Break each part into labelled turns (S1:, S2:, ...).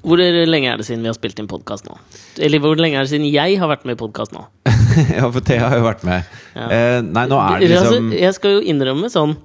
S1: Hvor er- lenge er det siden vi har spilt inn podkast nå? Eller hvor lenge er det siden jeg har vært med i podkast nå?
S2: ja, for Thea har jo vært med.
S1: Ja.
S2: Eh, nei, nå er det
S1: Altså,
S2: liksom
S1: jeg skal jo innrømme sånn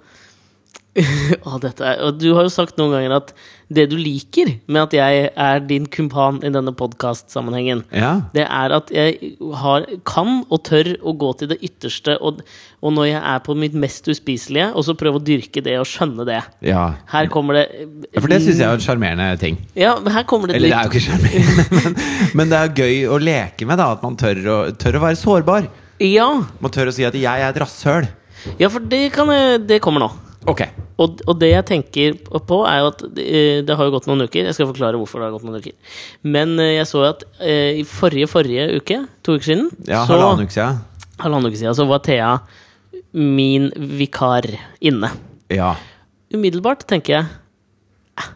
S1: å, dette er, og Du har jo sagt noen ganger at det du liker med at jeg er din kumpan i denne podkastsammenhengen,
S2: Ja.
S1: det er at jeg har, kan og tør å gå til det ytterste, og, og når jeg er på mitt mest uspiselige, og så prøve å dyrke det og skjønne det.
S2: ja.
S1: Her kommer det
S2: Ja, For det syns jeg er en sjarmerende ting.
S1: Ja, men her kommer det et
S2: Eller det
S1: nytt
S2: er jo ikke sjarmerende, men, men det er gøy å leke med, da. At man tør å, tør å være sårbar.
S1: ja,
S2: Man tør å si at 'jeg er et rasshøl'.
S1: ja, for det, kan, jeg- det kommer nå.
S2: Ok.
S1: Og, og det jeg tenker på, er jo at eh, det har jo gått noen uker. Jeg skal forklare hvorfor det har gått noen uker. Men eh, jeg så at eh, i forrige forrige uke, to uker siden,
S2: Ja,
S1: så,
S2: halvannen uke siden.
S1: halvannen uke siden, så var Thea min vikar inne.
S2: Ja.
S1: Umiddelbart tenker jeg "Eh,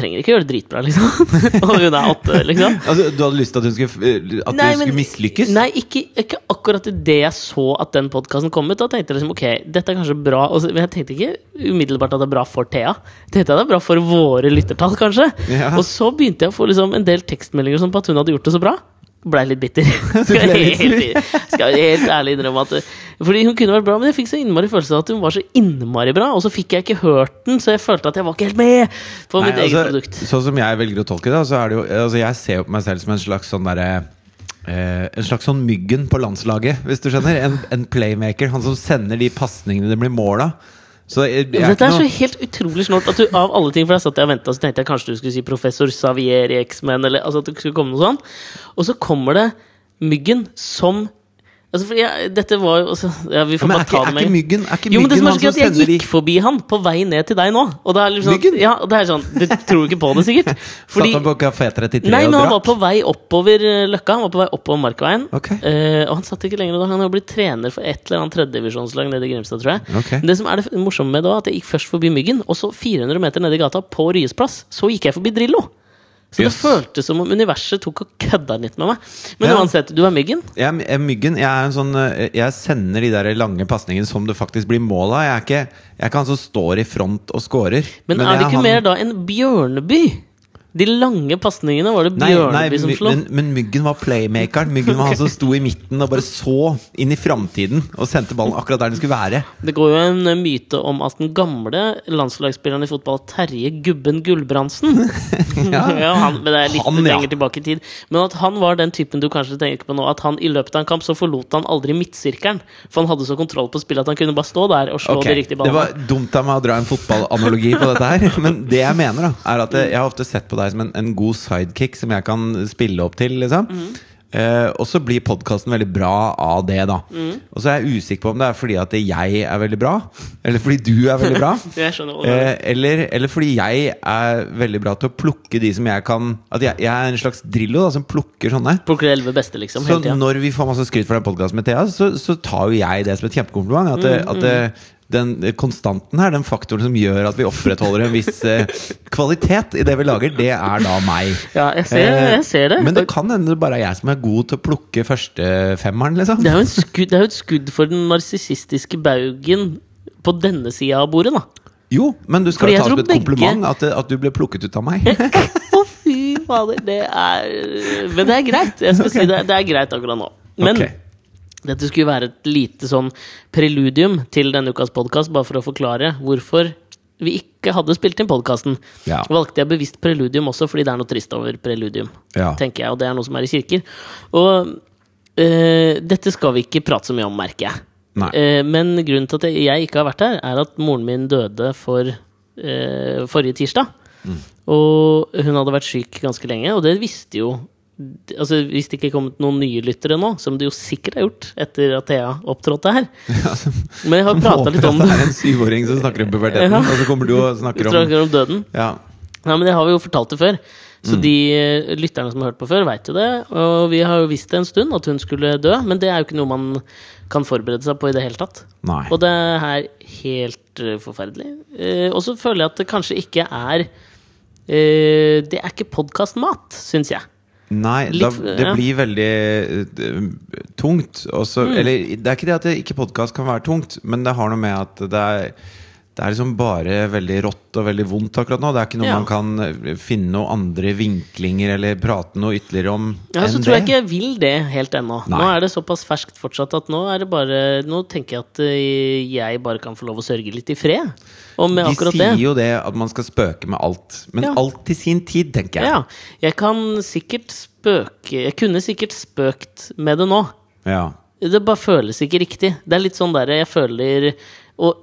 S1: Trenger ikke gjøre det dritbra, liksom. og hun er åtte, liksom.
S2: Altså, du hadde lyst til at hun skulle, at
S1: Nei,
S2: hun
S1: men-
S2: skulle mislykkes?
S1: Nei, ikke, ikke akkurat idet jeg så at den podkasten kom ut. Da tenkte jeg liksom ok, dette er kanskje bra og så- Men jeg tenkte ikke umiddelbart at det er bra for Thea. Jeg Tenkte at det er bra for våre lyttertall, kanskje.
S2: Ja.
S1: Og så begynte jeg å få liksom en del tekstmeldinger sånn på at hun hadde gjort det så bra. Blei litt bitter. Skal
S2: ble
S1: jeg
S2: litt sur.
S1: helt, skal jeg helt ærlig innrømme at det- Fordi hun kunne vært bra, men jeg fikk så innmari følelse av at hun var så innmari bra, og så fikk jeg ikke hørt den, så jeg følte at jeg var ikke helt med på mitt
S2: Nei,
S1: eget
S2: altså,
S1: produkt.
S2: Sånn som jeg velger å tolke det, da, så er det jo altså, Jeg ser jo på meg selv som en slags sånn derre eh, en slags sånn Myggen på landslaget, hvis du skjønner. En, en playmaker. Han som sender de pasningene det blir mål av. Så jeg, jeg
S1: Dette er
S2: ikke
S1: så
S2: noe-
S1: helt utrolig snålt at du av alle ting For jeg satt og ventet, og så tenkte jeg kanskje du skulle si professor Xavier i X-Men, eller altså at det skulle komme noe sånt. Og så kommer det Myggen som Altså, for jeg, dette var jo altså, ja, Vi
S2: Ja,
S1: får
S2: men
S1: bare
S2: er
S1: ta
S2: ikke,
S1: det
S2: er
S1: med
S2: ikke Myggen, er ikke
S1: Jo, men det
S2: myggen
S1: som er
S2: han
S1: så gøy,
S2: som
S1: at jeg
S2: sender de
S1: gikk forbi han på vei ned til deg nå. Og det er liksom sånn,
S2: Myggen?
S1: ja, og det er sånn Du tror ikke på det, sikkert. Fordi
S2: Satt han på Kafé 33
S1: Nei,
S2: og
S1: men han var
S2: drakk?
S1: på vei oppover eh, Løkka. Han var på vei oppover Markveien.
S2: Ok.
S1: Eh, og han satt ikke lenger da. Han har blitt trener for et eller annet tredjedivisjonslag nede i Grimstad, tror jeg.
S2: Ok.
S1: Men Det som er det f- morsomme med det, var at jeg gikk først forbi Myggen, og så 400 meter nede i gata, på Ryes plass, så gikk jeg forbi Drillo. Så det
S2: Yes.
S1: føltes som om universet tok og kødda litt med meg. Men
S2: Ja.
S1: uansett, du er Myggen.
S2: Jeg er- jeg er myggen. Jeg er en sånn eh, Jeg sender de der lange pasningene som det faktisk blir mål av. Jeg er ikke, jeg er ikke han som står i front og scorer.
S1: Men,
S2: jeg
S1: er det ikke
S2: han-
S1: mer da enn Bjørneby? De lange pasningene var det liksom,
S2: Nei,
S1: Bjørneby
S2: nei
S1: som
S2: my-
S1: slo.
S2: men, men Myggen var playmakeren. Myggen var han som sto i midten og bare så inn i framtiden og sendte ballen akkurat der den skulle være.
S1: Det går jo en eh, myte om at den gamle landslagsspilleren i fotball, Terje Gubben Gulbrandsen ja. han, Men det er litt
S2: Han, ja.
S1: lenger tilbake i tid. Men at han var den typen du kanskje tenker på nå. At han i løpet av en kamp så forlot han aldri midtsirkelen. For han hadde så kontroll på spillet at han kunne bare stå der og slå
S2: Ok,
S1: de riktige
S2: Det
S1: ballene.
S2: var dumt av meg å dra en fotballanalogi på dette her. Men det jeg mener, da, er at jeg har ofte sett på deg som en, en god sidekick som jeg kan spille opp til. liksom Eh, og så blir podkasten veldig bra av det, da. Og så er jeg usikker på om det er fordi at jeg er veldig bra, eller fordi du er veldig bra.
S1: Jeg skjønner hva du
S2: Eh, eller, eller fordi jeg er veldig bra til å plukke de som jeg kan At jeg, jeg er en slags Drillo da, som plukker sånne.
S1: Plukker de elleve beste, liksom.
S2: Så
S1: Hele tida.
S2: når vi får masse skryt for den podkasten med Thea, så, så tar jo jeg det som et kjempekompliment. At,
S1: Mm,
S2: det- at det- den konstanten her, den faktoren som gjør at vi opprettholder en viss eh, kvalitet i det vi lager, det er da meg.
S1: Ja, jeg ser,
S2: Eh,
S1: jeg ser det.
S2: Men det kan hende det bare er jeg som er god til å plukke førstefemmeren, liksom.
S1: Det er jo, en skudd, det er jo et skudd for den narsissistiske baugen på denne sida av bordet, da.
S2: Jo, men du skal
S1: Fordi jeg
S2: ta det som
S1: tror
S2: et
S1: begge-
S2: kompliment at, det- at du ble plukket ut av meg.
S1: Å, fy fader. Det er Men det er greit. Jeg skal si det, det er greit akkurat nå. Men
S2: Ok.
S1: dette skulle være et lite sånn preludium til denne ukas podkast, bare for å forklare hvorfor vi ikke hadde spilt inn podkasten.
S2: Ja.
S1: Valgte jeg bevisst preludium også, fordi det er noe trist over preludium.
S2: Ja.
S1: Tenker jeg, Og det er noe som er i kirker. Og eh, dette skal vi ikke prate så mye om, merker jeg.
S2: Nei.
S1: Eh, men grunnen til at jeg- jeg ikke har vært her, er at moren min døde for eh, forrige tirsdag.
S2: Mm.
S1: Og hun hadde vært syk ganske lenge, og det visste jo Altså, Hvis det ikke er kommet noen nye lyttere nå, som det jo sikkert har gjort etter at Thea opptrådte her Men jeg har prata litt om
S2: Håper
S1: det.
S2: at det er en syvåring som snakker om puberteten,
S1: Ja.
S2: og så kommer du og snakker
S1: Jeg
S2: om
S1: snakker om døden.
S2: ja.
S1: Nei, men Det har vi jo fortalt det før. Så
S2: Mm.
S1: de eh, lytterne som har hørt på før, veit jo det. Og vi har jo visst det en stund at hun skulle dø, men det er jo ikke noe man kan forberede seg på i det hele tatt.
S2: Nei.
S1: Og det er helt eh, forferdelig. Eh, og så føler jeg at det kanskje ikke er eh, Det er ikke podkastmat, syns jeg.
S2: Nei,
S1: Litt-
S2: da, det
S1: ja.
S2: blir veldig eh,
S1: Mm.
S2: tungt. Også, Eller det er ikke det at det ikke podkast kan være tungt, men det har noe med at det er det er liksom bare veldig rått og veldig vondt akkurat nå. Det er ikke noe
S1: Ja.
S2: man kan eh, finne noen andre vinklinger eller prate noe ytterligere om
S1: Ja, så
S2: enn
S1: tror jeg
S2: det.
S1: ikke jeg vil det helt ennå. Nå
S2: Nei.
S1: er det såpass ferskt fortsatt at nå er det bare Nå tenker jeg at eh, jeg bare kan få lov å sørge litt i fred om
S2: De
S1: akkurat det.
S2: sier jo det at man skal spøke med alt. Men
S1: Ja.
S2: alt til sin tid, tenker jeg.
S1: Ja, jeg kan sikkert spøke Jeg kunne sikkert spøkt med det nå.
S2: Ja.
S1: Det bare føles ikke riktig. Det er litt sånn der jeg føler Og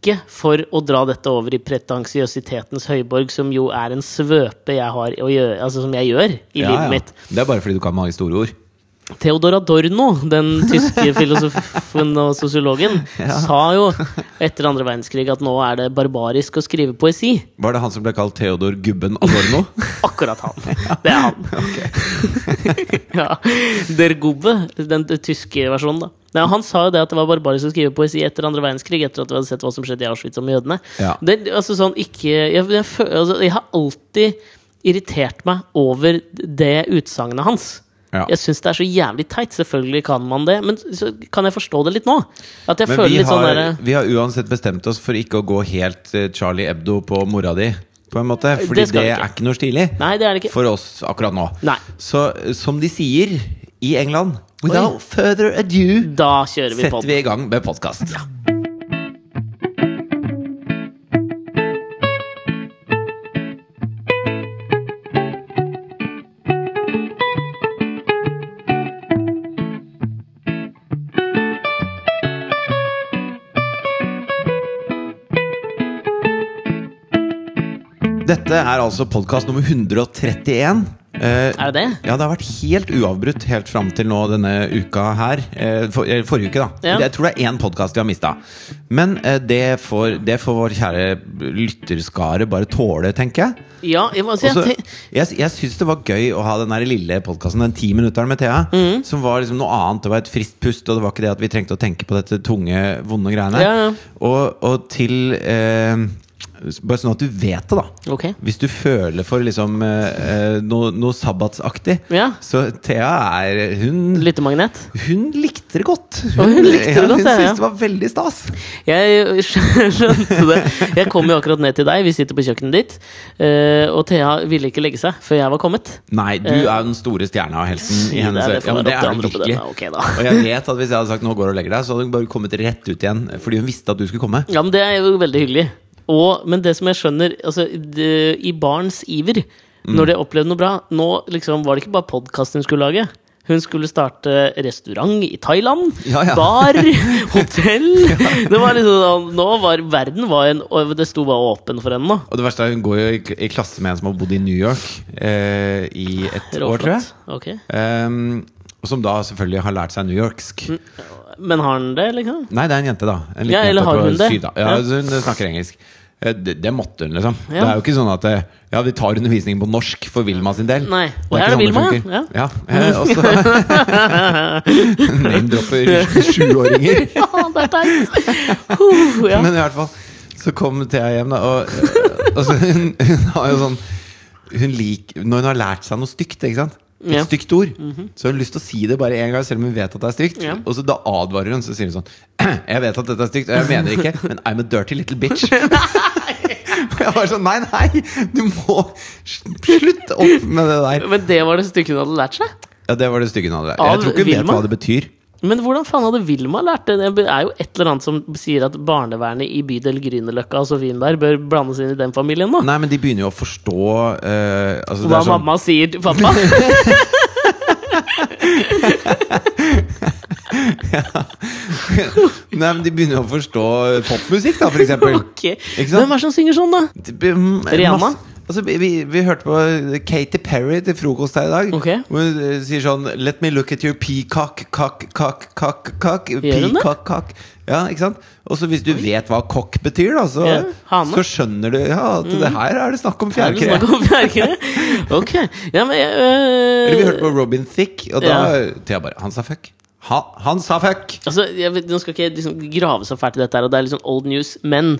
S1: ikke for å dra dette over i pretensiøsitetens høyborg, som jo er en svøpe jeg har å gjøre, altså som jeg gjør i
S2: Ja,
S1: livet
S2: ja.
S1: mitt.
S2: Det er bare fordi du kan mange store ord.
S1: Theodor Adorno, den tyske filosofen og sosiologen, sa jo etter andre verdenskrig at nå er det barbarisk å skrive poesi.
S2: Var det han som ble kalt Theodor Gubben Adorno?
S1: Akkurat han. Det er han. ja. Der Gubbe, den t- tyske versjonen, da. Nei, han sa jo det at det var barbarisk å skrive poesi etter andre verdenskrig, etter at vi hadde sett hva som skjedde i Auschwitz og med jødene.
S2: Ja.
S1: Det, altså, sånn, ikke, jeg, jeg, fø- altså, jeg har alltid irritert meg over det utsagnet hans.
S2: Ja.
S1: Jeg syns det er så jævlig teit. Selvfølgelig kan man det, men så kan jeg forstå det litt nå. At jeg
S2: Men
S1: føler
S2: vi
S1: litt sånn
S2: har,
S1: derre
S2: vi har uansett bestemt oss for ikke å gå helt eh, Charlie Hebdo på mora di. På en måte, fordi
S1: Det
S2: det,
S1: skal vi ikke.
S2: er ikke noe stilig
S1: Nei, det er det ikke.
S2: for oss akkurat nå.
S1: Nei.
S2: Så eh, som de sier i England Without
S1: Oi.
S2: further ado
S1: Da kjører vi på.
S2: setter vi i gang med podkast. Dette er altså podkast nummer 131. Eh,
S1: Er det det?
S2: ja, det har vært helt uavbrutt helt fram til nå denne uka her. Eh, For, eller forrige uke, da.
S1: Ja.
S2: Jeg tror det er én podkast vi har mista. Men eh, det får, det får vår kjære lytterskare bare tåle, tenker jeg.
S1: Ja, jeg, må- altså,
S2: Også,
S1: jeg, tenk-
S2: jeg jeg syns det var gøy å ha den der lille podkasten, den ti minutteren med Thea,
S1: Mm.
S2: som var liksom noe annet. Det var et friskt pust, og det var ikke det at vi trengte å tenke på dette tunge, vonde greiene.
S1: Ja, ja.
S2: Og, og til eh, Bare sånn at du vet det, da.
S1: Ok.
S2: Hvis du føler for liksom eh, eh, noe, noe sabbatsaktig,
S1: Ja.
S2: så Thea er Hun,
S1: Lyttemagnet.
S2: hun likte det godt.
S1: hun likte det
S2: ja,
S1: godt,
S2: hun
S1: ja, ja.
S2: syntes det var veldig stas.
S1: Jeg skjønte det. Jeg kom jo akkurat ned til deg, vi sitter på kjøkkenet ditt. eh, Og Thea ville ikke legge seg før jeg var kommet.
S2: Nei, du
S1: Eh.
S2: er den store stjerna og helten
S1: Det
S2: i
S1: er
S2: hennes
S1: det for
S2: ja, men
S1: meg,
S2: det
S1: at
S2: er
S1: andre
S2: du
S1: på den
S2: virkelig.
S1: er ok, da.
S2: Og jeg vet at hvis jeg hadde sagt 'nå går du og legger deg', så hadde hun bare kommet rett ut igjen. Fordi hun visste at du skulle komme.
S1: Ja, men det er jo veldig hyggelig. Og, men det som jeg skjønner, altså, det, i barns iver,
S2: Mm.
S1: når de opplevde noe bra Nå liksom, var det ikke bare podkast hun skulle lage. Hun skulle starte restaurant i Thailand.
S2: Ja, ja.
S1: Bar, hotell. Det var liksom sånn Nå var verden var en og Det sto bare åpen for henne nå.
S2: Og det verste er hun går jo i, i klasse med en som har bodd i New York eh, i et år, tror jeg.
S1: Ok.
S2: Ehm, og som da selvfølgelig har lært seg newyorksk.
S1: Men har han det, liksom?
S2: Nei, det er en jente, da. En liten
S1: Ja, eller
S2: jente
S1: har
S2: på
S1: hun det?
S2: syv, da. Ja,
S1: Ja.
S2: så Hun snakker engelsk. Eh, Det, det måtte hun, liksom.
S1: Ja.
S2: Det er jo ikke sånn at eh, Ja, vi tar undervisning på norsk for Vilma sin del.
S1: Nei.
S2: Det
S1: Og her
S2: ikke
S1: er
S2: sånn
S1: Vilma,
S2: funker.
S1: ja.
S2: ja. eh, og så Name-dropper sjuåringer.
S1: Ja, det er teit! Huh, ja.
S2: Men i hvert fall så kom Thea hjem, da. Og, og så hun, hun har jo sånn hun lik, Når hun har lært seg noe stygt, ikke sant? et
S1: Ja. Mhm.
S2: stygt ord, så har hun lyst til å si det bare én gang, selv om hun vet at det er stygt.
S1: Ja.
S2: Og så da advarer hun, så sier hun sånn Jeg vet at dette er stygt, og jeg mener det ikke, men I'm a dirty little bitch. Og jeg var sånn Nei, nei! Du må slutte opp med det der.
S1: Men det var det stykket hun hadde lært seg?
S2: Ja, det var det stygge navnet der.
S1: Av
S2: Jeg tror ikke hun vet
S1: Vilma?
S2: hva det betyr.
S1: Men hvordan faen hadde Vilma lært det? Det er jo et eller annet som sier at barnevernet i bydel Grünerløkka og Sofienberg bør blandes inn i den familien nå.
S2: Nei, men de begynner jo å forstå eh, altså, det
S1: Hva
S2: er sånn,
S1: mamma sier til pappa?
S2: Nei, men De begynner jo å forstå popmusikk, da, for eksempel.
S1: Ok.
S2: Ikke sant?
S1: Hvem er det som synger sånn, da? Rihanna?
S2: Rihanna? Altså, vi, vi, vi hørte på Katy Perry til frokost her i dag.
S1: Ok.
S2: Hvor hun eh, sier sånn Let me look at your peacock, cock, cock, cock, cock
S1: hun det?
S2: Peacock, cock Ja, ikke sant? Og så hvis du vet hva cock betyr, da, så,
S1: Ja, hane.
S2: så skjønner du ja, at det her er det snakk om
S1: Er det
S2: fjærkre.
S1: snakk om fjærkre? Ok. Ja, men jeg, øh,
S2: Eller vi hørte på Robin Thicke, og da Thea bare Han sa fuck. Ha, han sa fuck!
S1: Altså, jeg vet, Nå skal ikke jeg liksom grave så fælt i dette, her og det er litt sånn old news, men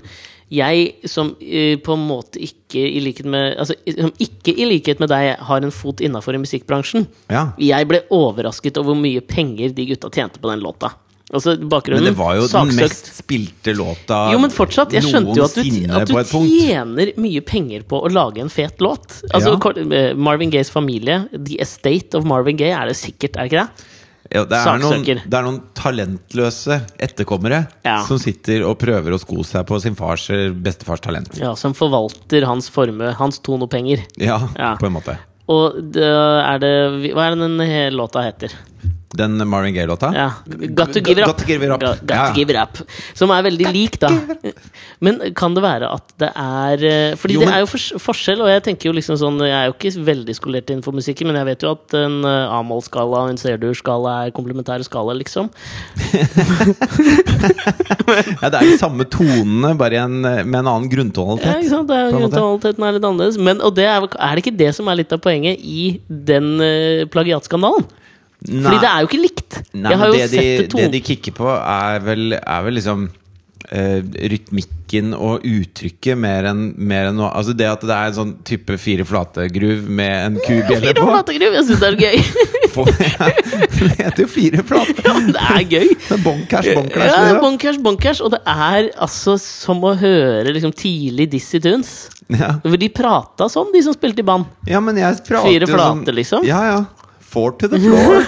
S1: jeg som eh, på en måte ikke i likhet med Altså, i- som ikke i likhet med deg har en fot innafor i musikkbransjen.
S2: Ja.
S1: Jeg ble overrasket over hvor mye penger de gutta tjente på den låta. Altså, bakgrunnen
S2: Men det var jo
S1: saksøkt.
S2: den mest spilte låta
S1: Jo, men fortsatt. Jeg skjønte jo at du,
S2: noensinne
S1: at du
S2: på et punkt.
S1: tjener mye penger på å lage en fet låt. Altså,
S2: Ja.
S1: kort- eh, Marvin Gayes familie, The Estate of Marvin Gaye, er det sikkert, er det ikke det?
S2: Ja, det, er noen,
S1: Saksøker.
S2: det er noen talentløse etterkommere
S1: Ja.
S2: som sitter og prøver å sko seg på sin fars eller bestefars talent.
S1: Ja, Som forvalter hans formue, hans ton og penger.
S2: Ja,
S1: Ja.
S2: på en måte.
S1: Og det er det Hva er det den he- låta heter?
S2: Den Marvin Gaye-låta.
S1: Ja. Got to give it up.
S2: Got to give it up.
S1: Ga- Got
S2: Ja.
S1: to give it up. Som er veldig lik, da. Men kan det være at det er eh, Fordi
S2: Jo,
S1: det
S2: men-
S1: er jo fors forskjell, og jeg tenker jo liksom sånn Jeg er jo ikke veldig skolert innenfor musikken, men jeg vet jo at en eh, A-moll-skala og en C-dur-skala er komplementære skala, liksom.
S2: Ja, det er de samme tonene, bare i en, med en annen
S1: Ja,
S2: grunntonalitet.
S1: ikke sant? Det er
S2: på en
S1: jo
S2: måte.
S1: Grunntonaliteten er litt annerledes. Men, og det er, vel- er det ikke det som er litt av poenget i den eh, plagiatskandalen? Fordi det er jo ikke likt!
S2: Nei,
S1: jeg
S2: men
S1: har jo
S2: det,
S1: sett
S2: de,
S1: det to
S2: det de kicker på, er vel, er vel liksom eh, rytmikken og uttrykket mer enn mer enn noe Altså det at det er en sånn type fire flate gruv med en kubjelle
S1: Fire
S2: på.
S1: flattegruv! Jeg syns det er gøy!
S2: på ja, det heter jo fire flate!
S1: ja, det er gøy!
S2: Det er bonkers, bonkers.
S1: Ja,
S2: liksom.
S1: bonkers, bonkers. Og det er altså som å høre liksom, tidlig Dizzie Tunes.
S2: ja.
S1: For de prata sånn, de som spilte i band.
S2: ja, men jeg prater
S1: Fire
S2: jo sånn-
S1: flate, liksom?
S2: Ja, ja. Four to the floor.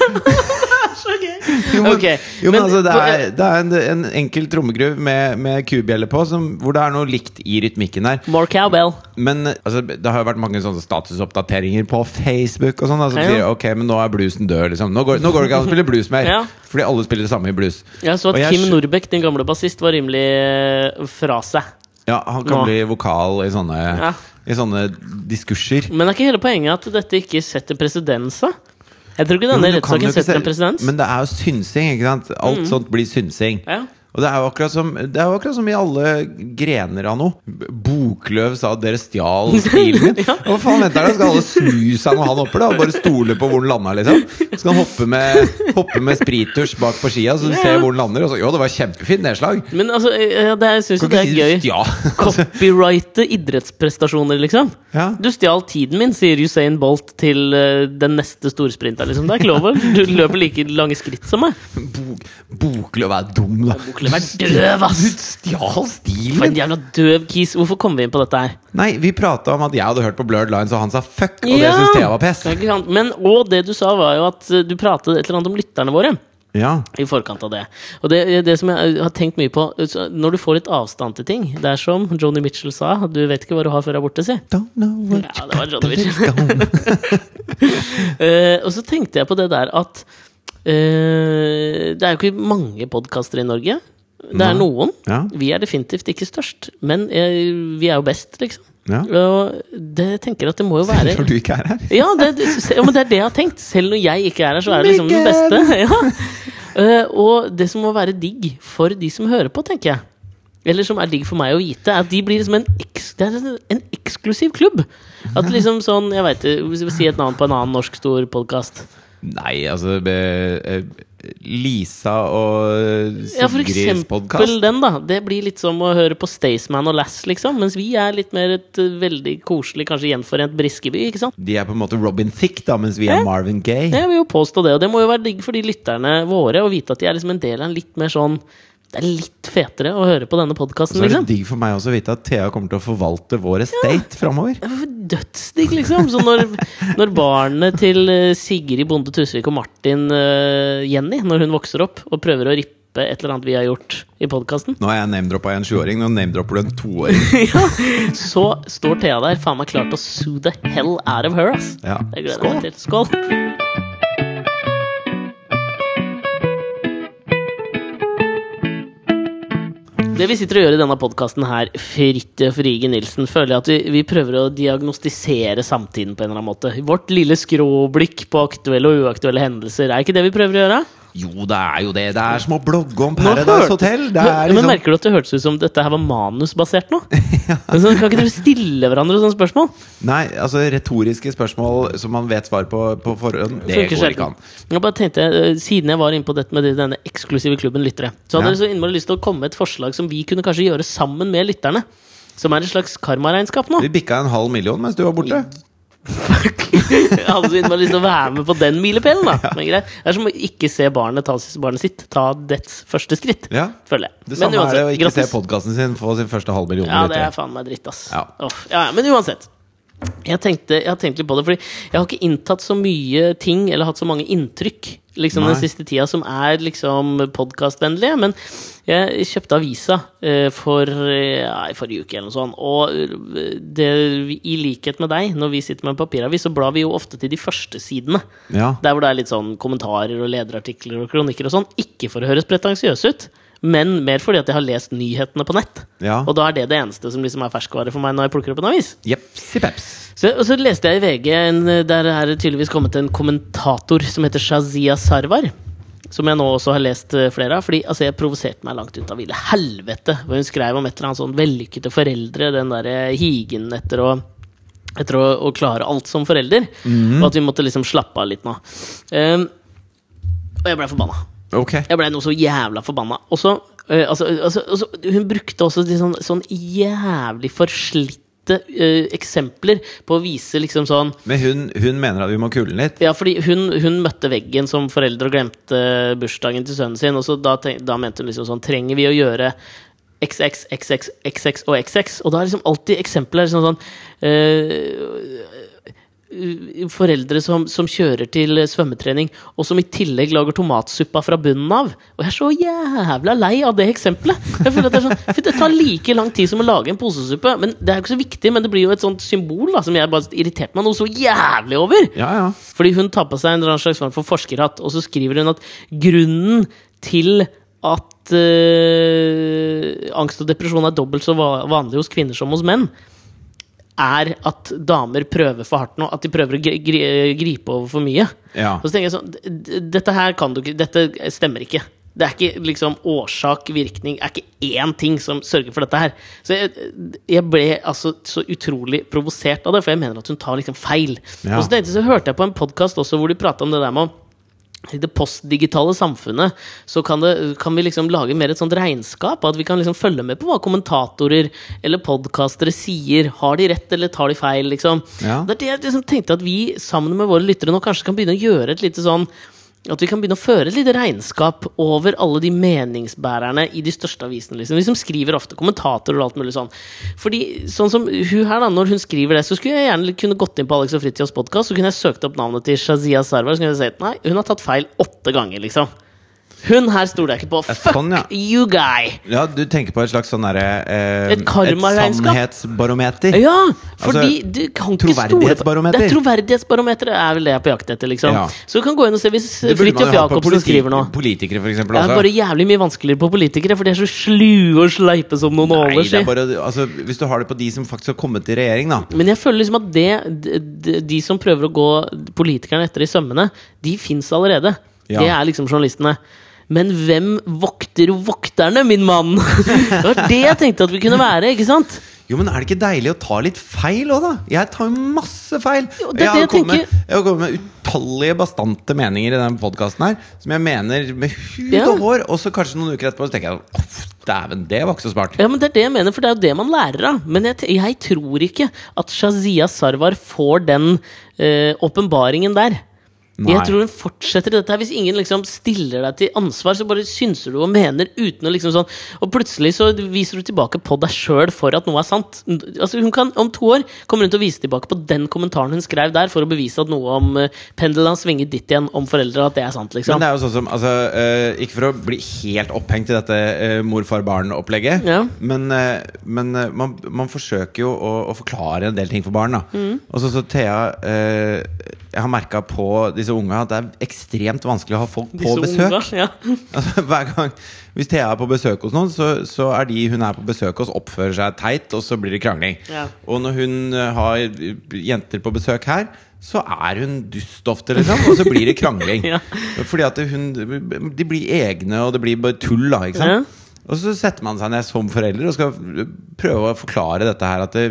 S2: Jo, men,
S1: Ok,
S2: jo, men,
S1: men
S2: altså, det
S1: på-
S2: er, det er en, en enkel trommegruv med, med kubjelle på, som, hvor det er noe likt i rytmikken her.
S1: More cowbell.
S2: Men altså, det har jo vært mange sånne statusoppdateringer på Facebook. og sånn da, Som
S1: Ja, ja.
S2: sier ok, men nå er bluesen død. liksom Nå går, nå går det ikke an å spille blues mer!
S1: Ja.
S2: Fordi alle spiller det samme i blues.
S1: Jeg så
S2: Og
S1: at
S2: jeg
S1: Kim
S2: skj-
S1: Norbekk, den gamle bassist, var rimelig eh, fra seg.
S2: Ja, Han kan
S1: Nå.
S2: bli vokal i sånne,
S1: Ja.
S2: i sånne diskurser.
S1: Men er ikke hele poenget at dette ikke setter presedens? da? Jeg tror ikke
S2: Jo,
S1: denne
S2: men du kan jo
S1: rettssaken
S2: ikke
S1: setter
S2: se-
S1: en presedens. Mm.
S2: Men det er jo synsing. ikke sant? Alt sånt blir synsing.
S1: Ja.
S2: Og det er, jo akkurat som, det er jo akkurat som i alle grener av noe. B- Bokløv sa at dere stjal bilen min. Hva faen venter dere? Skal alle snu seg når han hopper? da? Og bare stole på hvor den landa? liksom Så Skal han hoppe med, hoppe med sprittusj bak på skia, så du
S1: Ja.
S2: ser hvor den lander? Og så, jo, det var kjempefint nedslag.
S1: Men, altså, eh, det, jeg syns jo
S2: Kan
S1: det
S2: ikke
S1: er
S2: si
S1: gøy.
S2: du stjal.
S1: Copyrighte idrettsprestasjoner, liksom.
S2: Ja.
S1: Du stjal tiden min, sier Usain Bolt til eh, den neste storsprinta. Liksom. Det er ikke lov å Du løper like lange skritt som meg.
S2: Bok, bokløv er dum, da.
S1: Bokløv er døv, ass.
S2: Du stjal stilen
S1: For
S2: min!
S1: en jævla døv kis. Hvorfor kom vi inn på dette her?
S2: Nei, vi prata om at jeg hadde hørt på Blurred Lines, og han sa fuck, og det
S1: Ja.
S2: syntes Thea var pes.
S1: Det er ikke sant. Men, og det du sa, var jo at eh, du pratet et eller annet om lytterne våre.
S2: Ja.
S1: I forkant av det. Og det, det som jeg har tenkt mye på så Når du får litt avstand til ting Det er som Joni Mitchell sa, du vet ikke hva du har før du er borte, si.
S2: Don't know what
S1: Ja,
S2: you
S1: det var
S2: got
S1: Johnny
S2: till
S1: Mitchell.
S2: it's gone.
S1: Eh, og så tenkte jeg på det der at eh, Det er jo ikke mange podkaster i Norge. Det er
S2: Nei.
S1: noen.
S2: Ja.
S1: Vi er definitivt ikke størst, men eh, vi er jo best, liksom.
S2: Ja.
S1: Og det jeg tenker at det må jo være
S2: Når du ikke er her.
S1: ja, det, det, se- ja, men det er det jeg har tenkt. Selv når jeg ikke er her, så er det liksom den
S2: Mikkel!
S1: beste. Ja. Eh, og det som må være digg for de som hører på, tenker jeg, eller som er digg for meg å vite, er at de blir liksom en, eks, det er liksom en eksklusiv klubb. At liksom sånn, jeg veit Si et navn på en annen norsk stor podkast.
S2: Nei, altså be- eh, Lisa og
S1: Ja, for
S2: Sigrids
S1: eksempel
S2: podkast.
S1: den, da. Det blir litt som å høre på Staysman og Lass, liksom. Mens vi er litt mer et eh, veldig koselig, kanskje gjenforent Briskeby, ikke sant.
S2: De er på en måte Robin Thicke, da, mens vi er
S1: Ja.
S2: Marvin Gaye.
S1: Jeg vil jo påstå det, og det må jo være digg for de lytterne våre å vite at de er liksom en del av en litt mer sånn Det er litt fetere å høre på denne podkasten,
S2: Så er det
S1: liksom.
S2: digg for meg også å vite at Thea kommer til å forvalte vår estate framover.
S1: Det er for Dødsdigg, liksom. Så når, når barnet til eh, Sigrid Bonde Tusvik og Martin eh, Jenny, når hun vokser opp og prøver å rippe et eller annet vi har gjort i podkasten,
S2: Nå har jeg name-droppa en sjuåring, nå name-dropper du en toåring.
S1: så står Thea der faen meg klar til å sue the hell out of her, ass.
S2: Ja.
S1: Det gleder jeg
S2: Skål!
S1: meg til. Skål! Det vi sitter og gjør i denne podkasten her, Fridtjof Rige Nilsen, føler jeg at vi, vi prøver å diagnostisere samtiden på en eller annen måte. Vårt lille skråblikk på aktuelle og uaktuelle hendelser, er ikke det vi prøver å gjøre?
S2: Jo, det er jo det. Det er som å blogge om
S1: Nå
S2: Paradise
S1: hørtes-
S2: Hotel. Det
S1: Men-
S2: er
S1: Men
S2: liksom
S1: merker du at det hørtes ut som dette her var manusbasert nå? Men så kan ikke dere stille hverandre sånne spørsmål?
S2: Nei, altså retoriske spørsmål som man vet svar på på forhånd,
S1: Funker
S2: det går ikke
S1: sjelden.
S2: an.
S1: Jeg bare tenkte, eh, Siden jeg var inne på dette med denne eksklusive klubben lyttere, så hadde
S2: Ja.
S1: jeg så innmari lyst til å komme med et forslag som vi kunne kanskje gjøre sammen med lytterne. Som er et slags karmaregnskap nå.
S2: Vi bikka en halv million mens du var borte.
S1: Fuck. Hadde så innmari lyst til å være med på den milepælen, da. Men greit. Det er som å ikke se barnet ta s- barnet sitt ta dets første skritt,
S2: Ja.
S1: føler jeg.
S2: Det samme er det å ikke
S1: grattis.
S2: se podkasten sin få sin første halve million.
S1: Ja, det
S2: lyttere.
S1: er faen meg dritt, ass.
S2: Ja.
S1: Åh, ja, ja, men uansett. Jeg, tenkte, jeg har tenkt litt på det, fordi jeg har ikke inntatt så mye ting eller hatt så mange inntrykk liksom, den
S2: Nei.
S1: siste tida som er liksom podkastvennlige. Men jeg kjøpte avisa eh, for eh, ja, i forrige uke eller noe sånt. Og eh, det, i likhet med deg, når vi sitter med en papiravis, så blar vi jo ofte til de første sidene.
S2: Ja.
S1: Der hvor det er litt sånn kommentarer og lederartikler og kronikker og sånn. Ikke for å høres pretensiøs ut, men mer fordi at jeg har lest nyhetene på nett.
S2: Ja.
S1: Og da er det det eneste som liksom er ferskvare for meg når jeg plukker opp en avis.
S2: Jepsi peps.
S1: Så, og så leste jeg i VG, en, der er det tydeligvis kommet en kommentator som heter Shazia Sarwar. Som jeg nå også har lest eh, flere av. Fordi altså, jeg provoserte meg langt ut av ville helvete. Og hun skrev om et eller annet sånn vellykkede foreldre, den derre higen etter å etter å, å klare alt som forelder. Og at vi måtte liksom slappe av litt nå. Ehm, og jeg blei forbanna.
S2: Ok.
S1: Jeg blei noe så jævla forbanna. Og så eh, altså, altså, altså, Hun brukte også de sånn, sånn jævlig forslitte eh, eksempler på å vise liksom sånn
S2: Men hun, hun mener at vi må kule den litt?
S1: ja, fordi hun, hun møtte veggen som forelder og glemte bursdagen til sønnen sin. Og så da, tenk, da mente hun liksom sånn Trenger vi å gjøre XX, XX, XX og XX? Og da er liksom alltid eksempelet er liksom sånn eh, Foreldre som, som kjører til svømmetrening, og som i tillegg lager tomatsuppa fra bunnen av. Og jeg er så jævla lei av det eksempelet! Jeg føler at Det er sånn For det tar like lang tid som å lage en posesuppe. Men Det er jo ikke så viktig, men det blir jo et sånt symbol da som jeg bare irriterte meg noe så jævlig over.
S2: Ja, ja.
S1: Fordi hun tar på seg en eller annen slags form for forskerhatt, og så skriver hun at grunnen til at eh, angst og depresjon er dobbelt så va- vanlig hos kvinner som hos menn, er at damer prøver for hardt nå. At de prøver å gri gri gripe over for mye.
S2: Ja.
S1: Og så tenker jeg sånn d- d- Dette her kan du ikke Dette stemmer ikke. Det er ikke liksom årsak, virkning er ikke én ting som sørger for dette her. Så jeg, jeg ble altså så utrolig provosert av det, for jeg mener at hun tar liksom feil.
S2: Ja.
S1: Og så tenkte jeg, så hørte jeg på en podkast også hvor de prata om det der med å i det postdigitale samfunnet så kan, det, kan vi liksom lage mer et sånt regnskap. At vi kan liksom følge med på hva kommentatorer eller podkastere sier. Har de rett, eller tar de feil? liksom
S2: Ja.
S1: Det er det jeg liksom tenkte at vi sammen med våre lyttere nå kanskje kan begynne å gjøre et lite sånn at vi kan begynne å føre et lite regnskap over alle de meningsbærerne i de største avisene. liksom De som skriver ofte kommentatorer og alt mulig sånn. Fordi sånn som hun her, da, når hun skriver det, så skulle jeg gjerne kunne gått inn på Alex og Fritjofs podkast, så kunne jeg søkt opp navnet til Shazia Sarwar, så kunne jeg sett nei, hun har tatt feil åtte ganger, liksom. Hun her stoler jeg ikke på.
S2: Ja,
S1: Fuck
S2: sånn, ja.
S1: you, guy!
S2: Ja, du tenker på et slags sånn derre eh,
S1: Et karmaregnskap.
S2: sannhetsbarometer.
S1: Ja, fordi du kan ikke stole på
S2: Altså, Troverdighetsbarometer.
S1: Det er Troverdighetsbarometeret er vel det jeg er på jakt etter, liksom.
S2: Ja.
S1: Så du kan gå inn og se hvis
S2: Det burde man
S1: Fridtjof
S2: jo ha på
S1: Jacobsen
S2: politi-
S1: skriver nå.
S2: Politikere, for eksempel. altså.
S1: Det er
S2: Også.
S1: bare jævlig mye vanskeligere på politikere, for de er så slue og sleipe som noen
S2: Nei,
S1: åler.
S2: det
S1: si.
S2: er bare, altså, hvis du har det på de som faktisk har kommet i regjering, da.
S1: Men jeg føler liksom at det, de, de- de som prøver å gå politikerne etter i sømmene, de fins allerede.
S2: Ja.
S1: Det er liksom journalistene. Men hvem vokter vokterne, min mann? Det var det jeg tenkte at vi kunne være, ikke sant?
S2: Jo, men er det ikke deilig å ta litt feil òg, da? Jeg tar jo masse feil.
S1: Jo,
S2: Og
S1: det er
S2: jeg, har
S1: det jeg
S2: kommet, jeg har kommet med utallige bastante meninger i denne podkasten her, som jeg mener med hud
S1: Ja.
S2: og hår, og så kanskje noen uker etterpå så tenker jeg sånn, «Åh, Dæven, det var ikke så smart.
S1: Ja, men Det er det jeg mener, for det er jo det man lærer av. Men jeg, t- jeg tror ikke at Shazia Sarwar får den eh, åpenbaringen der.
S2: Nei.
S1: Jeg tror hun fortsetter i dette her Hvis ingen liksom stiller deg til ansvar, så bare synser du og mener uten å liksom sånn Og plutselig så viser du tilbake på deg sjøl for at noe er sant. Altså Hun kan om to år kommer hun til å vise tilbake på den kommentaren hun skrev der, for å bevise at noe om eh, pendelen svinger ditt igjen om foreldre, at det er sant, liksom.
S2: Men det er jo sånn som altså, eh, Ikke for å bli helt opphengt i dette eh, mor-far-barn-opplegget,
S1: Ja.
S2: men, eh, men eh, man, man forsøker jo å, å forklare en del ting for barn. Da.
S1: Mm.
S2: Og så, så Thea eh, Jeg har merka på disse unga at det er ekstremt vanskelig å ha folk på
S1: Disse
S2: besøk.
S1: unga, ja.
S2: Altså, hver gang Hvis Thea er på besøk hos noen, så, så er de hun er på besøk hos, oppfører seg teit, og så blir det krangling.
S1: Ja.
S2: Og når hun eh, har eh, jenter på besøk her, så er hun dust ofte, liksom, og så blir det krangling.
S1: Ja.
S2: Fordi at hun De blir egne, og det blir bare tull, da. Ikke sant? Og så setter man seg ned som forelder og skal prøve å forklare dette her. At det,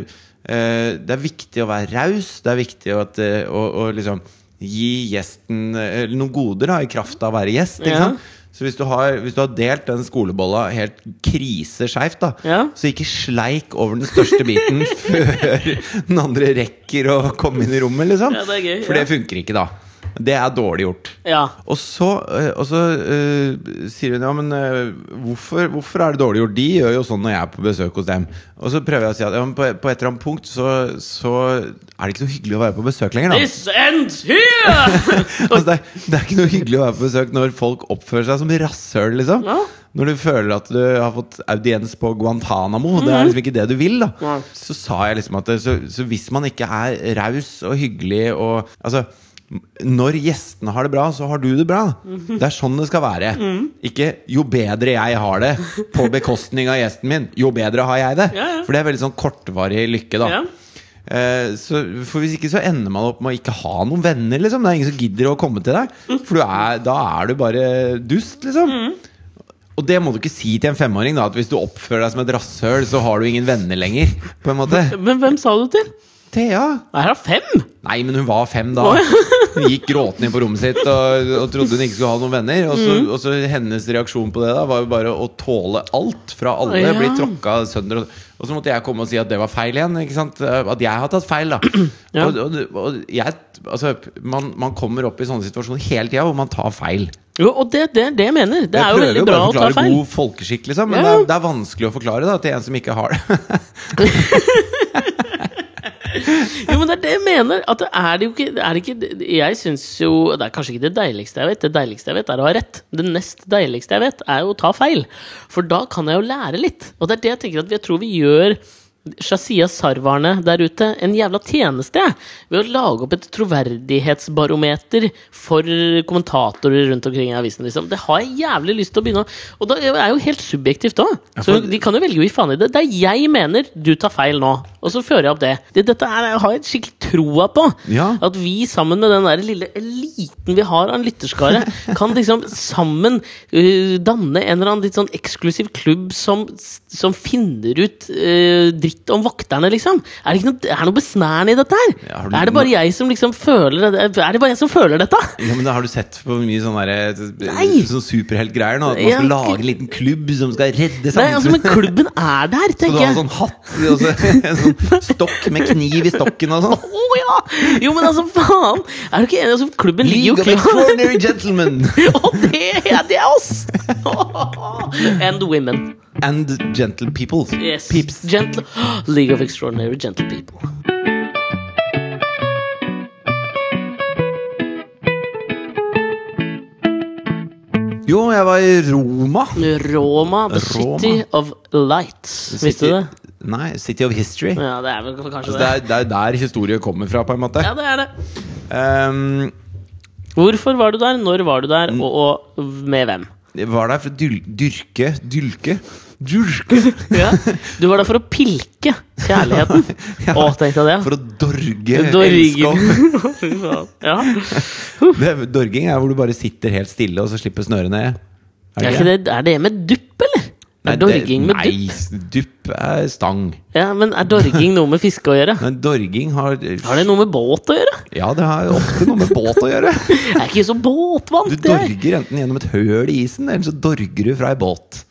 S2: eh, det er viktig å være raus. Det er viktig å, at, eh, å, å liksom gi gjesten eh, noen goder da, i kraft av å være gjest. Ikke
S1: Ja.
S2: sant? Så hvis du, har, hvis du har delt den skolebolla helt kriseskeivt, da,
S1: Ja.
S2: så ikke sleik over den største biten før den andre rekker å komme inn i rommet, liksom.
S1: Ja, det er gøy,
S2: For
S1: ja.
S2: det funker ikke, da. Det er dårlig gjort.
S1: Ja.
S2: Og så, eh, og så eh, sier hun ja, men eh, hvorfor, hvorfor er det dårlig gjort? De gjør jo sånn når jeg er på besøk hos dem. Og så prøver jeg å si at ja, men på, på et eller annet punkt så, så er det ikke så hyggelig å være på besøk lenger. Da.
S1: This ends here!
S2: Altså, det, er, det er ikke noe hyggelig å være på besøk når folk oppfører seg som rasshøl. Liksom.
S1: Ja.
S2: Når du føler at du har fått audiens på Guantánamo. Det er liksom ikke det du vil. Da.
S1: Mhm. Nei.
S2: Så sa jeg liksom at det, så, så hvis man ikke er raus og hyggelig og Altså når gjestene har det bra, så har du det bra.
S1: Mhm.
S2: Det er sånn det skal være. Ikke 'jo bedre jeg har det', på bekostning av gjesten min. Jo bedre har jeg det.
S1: Ja, ja.
S2: For det er veldig sånn kortvarig lykke, da.
S1: Ja.
S2: Eh, så, for hvis ikke så ender man opp med å ikke ha noen venner, liksom. Det er ingen som gidder å komme til deg. For du er, da er du bare dust, liksom.
S1: Mm.
S2: Og det må du ikke si til en femåring, da. At hvis du oppfører deg som et rasshøl, så har du ingen venner lenger. På en måte.
S1: Men hvem sa du til?
S2: Thea!
S1: Er det fem?
S2: Nei, men hun var fem da. Hun gikk gråtende inn på rommet sitt og, og trodde hun ikke skulle ha noen venner. Og
S1: Mm.
S2: så, og så hennes reaksjon på det da var jo bare å tåle alt fra alle.
S1: Ja.
S2: Bli tråkka sønder. Og, og så måtte jeg komme og si at det var feil igjen. Ikke sant? At jeg har tatt feil, da.
S1: Ja.
S2: Og, og, og jeg, altså, man, man kommer opp i sånne situasjoner hele tida hvor man tar feil.
S1: Jo, og det, det er det jeg mener. Det er jo
S2: prøver
S1: veldig
S2: bare
S1: bra å ta
S2: forklare
S1: feil.
S2: god folkeskikk, liksom. Men
S1: Ja.
S2: det, er, det er vanskelig å forklare da, til en som ikke har det.
S1: Jo, men det er det jeg mener. At det er det jo ikke, det er det ikke Jeg syns jo Det er kanskje ikke det deiligste jeg vet. Det deiligste jeg vet, er å ha rett. Det nest deiligste jeg vet, er jo å ta feil. For da kan jeg jo lære litt. Og det er det jeg tenker at jeg tror vi gjør Shazia Sarwarne der ute en jævla tjeneste jeg, ved å lage opp et troverdighetsbarometer for kommentatorer rundt omkring i avisen. Liksom. Det har jeg jævlig lyst til å begynne å Og det er jo helt subjektivt òg. Så
S2: for-
S1: de kan jo velge å gi faen i det. Det er jeg mener du tar feil nå, og så fører jeg opp det. det dette er, jeg har jeg skikkelig troa på.
S2: Ja.
S1: At vi sammen med den der lille eliten vi har av en lytterskare, kan liksom sammen øh, danne en eller annen litt sånn eksklusiv klubb som, som finner ut øh, dritt om vokterne, liksom. Er det ikke noe, er det noe besnærende i dette her?
S2: Ja, har du-
S1: er det bare jeg som liksom føler det? Er det bare jeg som føler dette?
S2: Ja, men da Har du sett på mye sånne, der,
S1: Nei.
S2: sånn superheltgreier nå? At man
S1: Ja,
S2: skal
S1: ikke-
S2: lage en liten klubb som skal redde
S1: Nei, altså, men
S2: samfunnet?
S1: klubben er der,
S2: Så du
S1: tenker
S2: har
S1: jeg.
S2: sånn hatt og så, en sånn stokk med kniv i stokken og sånn?
S1: Å ja! Jo, men altså, faen! Er du ikke enig? Altså, klubben ligger jo
S2: League of
S1: klar.
S2: Extraordinary Gentlemen
S1: Og det, ja, det er oss! And women.
S2: and Gentle People.
S1: Yes.
S2: Pips.
S1: Gentle League of Extraordinary Gentle People.
S2: Jo, jeg var i Roma.
S1: Roma, the
S2: Roma.
S1: city of lights. Visste du det?
S2: Nei, City of History.
S1: Ja, det er vel kanskje
S2: Altså, det,
S1: det.
S2: er, det er der historie kommer fra, på en måte.
S1: Ja, det er det.
S2: Um,
S1: Hvorfor var du der? Når var du
S2: Mm.
S1: der? Og, og med hvem?
S2: jeg var der for å dyl dyrke Dylke? Dyrke!
S1: Ja. Du var der for å pilke kjærligheten.
S2: Ja.
S1: Å, tenkte jeg det.
S2: For å dorge
S1: Dorging.
S2: elskov.
S1: Fy faen. Ja.
S2: Det, dorging er hvor du bare sitter helt stille, og så slipper snøret ned. Er
S1: Er, ikke det, er det med dupp, eller?
S2: Nei,
S1: Er dorging med dupp?
S2: Nei, dupp er stang.
S1: Ja, men er dorging noe med fiske å gjøre?
S2: Men dorging har
S1: Har det noe med båt å gjøre?
S2: Ja, det har ofte noe med båt å gjøre.
S1: Jeg er ikke så båtvant,
S2: Du
S1: jeg.
S2: dorger enten gjennom et høl i isen, eller så dorger du fra ei båt.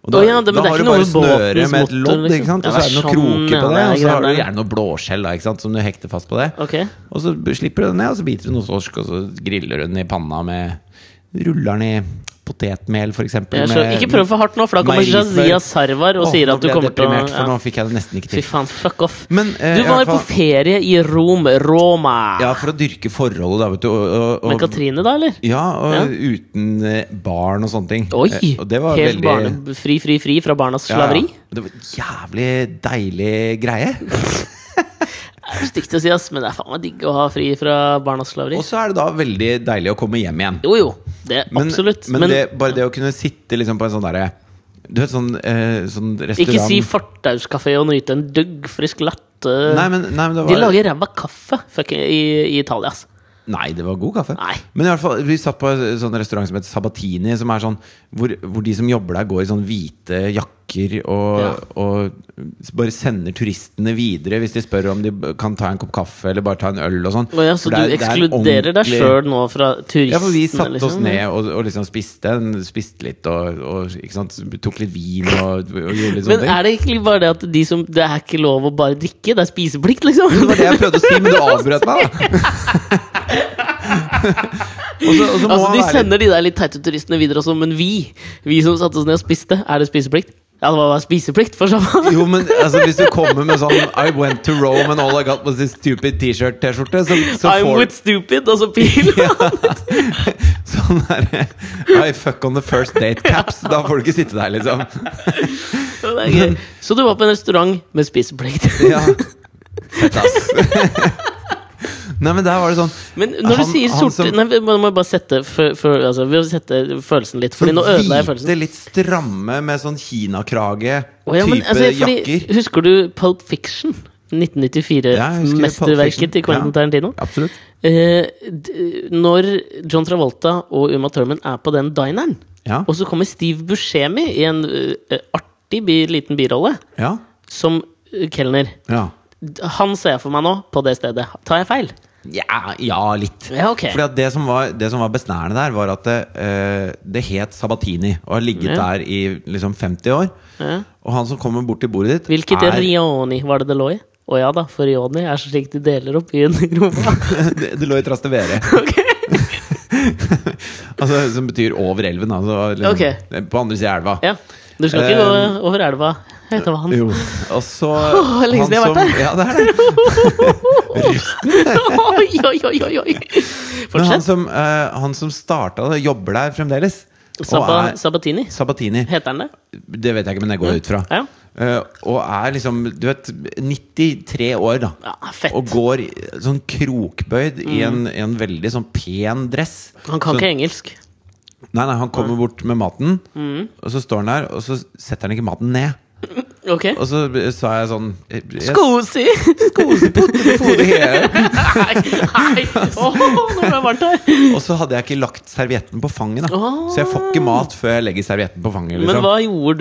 S2: Og
S1: Å ja, det- men det er
S2: har
S1: ikke
S2: du
S1: noe
S2: bare
S1: med
S2: snøre
S1: båtens
S2: med et
S1: motor,
S2: lodd,
S1: liksom.
S2: ikke sant? og
S1: Ja,
S2: så er det noen
S1: sånn,
S2: kroker på det,
S1: ja, det er
S2: og så har
S1: greit,
S2: du
S1: ja.
S2: gjerne noe blåskjell da, ikke sant? som du hekter fast på det.
S1: Ok.
S2: Og så slipper du det ned, og så biter du noe torsk, og så griller du den i panna med Ruller den i potetmel, for eksempel.
S1: Jeg skjønner,
S2: med-
S1: ikke prøv for hardt nå, for da kommer
S2: Meierismør.
S1: Shazia Sarwar og
S2: Å,
S1: sier
S2: nå
S1: at du
S2: ble jeg
S1: kommer til å
S2: deprimert, For
S1: ja.
S2: nå fikk jeg det nesten ikke
S1: Fy
S2: til.
S1: faen, fuck off.
S2: Men, eh,
S1: du
S2: i
S1: var
S2: hvert
S1: på
S2: fall-
S1: ferie i Rom, Roma.
S2: Ja, for å dyrke forholdet, da, vet du. Og, og,
S1: Med
S2: og,
S1: Katrine, da, eller?
S2: ja, og
S1: Ja.
S2: uten eh, barn og sånne ting.
S1: Oi!
S2: Eh, Og det var
S1: Helt
S2: veldig
S1: barne, fri, fri, fri fra barnas
S2: Ja, ja.
S1: slaveri.
S2: Det var en jævlig deilig greie.
S1: Det er Stygt å si, ass, men det er faen meg digg å ha fri fra barnas slaveri.
S2: Og så er det da veldig deilig å komme hjem igjen.
S1: Jo, jo. Det er absolutt.
S2: men, det, bare det å kunne sitte liksom på en sånn derre Du vet, sånn, eh, sånn restaurant
S1: ikke si fortauskafé og nyte en duggfrisk latte.
S2: Nei, men, nei, men det var,
S1: De lager ræva kaffe fuck, i, i Italia, ass.
S2: Nei, det var god kaffe.
S1: Nei.
S2: Men i hvert fall, vi satt på en sånn restaurant som heter Sabatini, som er sånn, hvor, hvor de som jobber der, går i sånn hvite jakker. pakker og,
S1: Ja.
S2: og bare sender turistene videre hvis de spør om de b- kan ta en kopp kaffe eller bare ta en øl og sånn.
S1: Å ja, så
S2: For
S1: du
S2: det er- det er en
S1: ekskluderer deg
S2: ordentlig-
S1: sjøl nå fra turistene?
S2: ja, for vi satte oss
S1: liksom?
S2: ned og, og liksom spiste, en- spiste litt og, og ikke sant? tok litt vin og, og gjorde
S1: Men
S2: litt sånne ting.
S1: er det egentlig bare det at de som Det er ikke lov å bare drikke, det er spiseplikt, liksom?
S2: Det var det jeg prøvde å si, men du avbrøt meg, da. og så, og
S1: Altså,
S2: så må
S1: de
S2: man være litt-
S1: sender de der litt teite turistene videre også, men vi, vi som satte oss ned og spiste, er det spiseplikt? Ja, det var bare spiseplikt, for så faen.
S2: Jo, men altså, hvis du kommer med sånn I went to Rome and all I got was this stupid T-shirt-T-skjorte, så, så
S1: I'm
S2: får
S1: with stupid, og så pil.
S2: sånn der I fuck on the first date caps. Da får du ikke sitte der, liksom.
S1: Så det er gøy. Så du var på en restaurant med spiseplikt.
S2: Ja. Fett, ass. Nei, men der var det sånn
S1: Men når du
S2: Han-
S1: sier
S2: han
S1: sorte
S2: som-
S1: Nei, vi må må jeg bare sette, fø- fø- altså, vi må sette følelsen litt, Fordi nå ødela jeg følelsen.
S2: sånn Hvite, litt stramme med sånn kinakrage-type
S1: Å ja, men, altså, fordi,
S2: jakker.
S1: husker du Pulp Fiction?
S2: Ja, jeg husker Pulp Fiction.
S1: Mesterverket til Quentin
S2: Ja.
S1: Tarantino.
S2: Absolutt.
S1: Eh, d- når John Travolta og Uma Thurman er på den dineren,
S2: Ja.
S1: og så kommer Steve Buscemi i en eh, artig bi, liten birolle
S2: Ja.
S1: som eh, kelner.
S2: Ja,
S1: D- Han ser jeg for meg nå på det stedet. Tar jeg feil?
S2: ja, ja litt.
S1: Ja, ok.
S2: Fordi at det som var, det som var besnærende der, var at det, eh, det het Sabatini og har ligget
S1: Ja.
S2: der i liksom 50 år.
S1: Ja.
S2: Og han som kommer bort til bordet ditt
S1: Hvilket
S2: er
S1: Rioni var det det lå i? Å ja da, for Rioni er slik de deler opp byen i Roma.
S2: det, det lå i Trastevere. altså, som betyr over elven. Altså, liksom,
S1: Ok.
S2: På andre sida av elva.
S1: ja. Du skal ikke
S2: Eh,
S1: gå over elva etter vann.
S2: Jo. Og så
S1: Åh, lenge siden jeg har vært der.
S2: Ja, det er det.
S1: oi, oi, oi, oi, oi!
S2: Men han
S1: Fortsett.
S2: som, eh, han som starta det, jobber der fremdeles.
S1: Saba,
S2: og er
S1: Sabatini.
S2: Sabatini.
S1: Heter han det?
S2: Det vet jeg ikke, men det går jeg ut fra.
S1: Ja.
S2: Eh, og er liksom, du vet, 93 år, da.
S1: Ja, fett.
S2: Og går i- sånn krokbøyd i, en, i en veldig sånn pen dress.
S1: Mm. Han kan
S2: Så-
S1: ikke engelsk.
S2: Nei, nei, han kommer bort med maten,
S1: Mm.
S2: og så står han der, og så setter han ikke maten ned.
S1: Ok.
S2: Og så eh, sa jeg sånn eh, jeg-
S1: Skosi!
S2: Skål, her.
S1: Nei, nei! Åh, nå ble det varmt her!
S2: Og så hadde jeg ikke lagt servietten på fanget, da.
S1: Ah.
S2: Så jeg får ikke mat før jeg legger servietten på fanget.
S1: Men
S2: Liksom.
S1: hva gjorde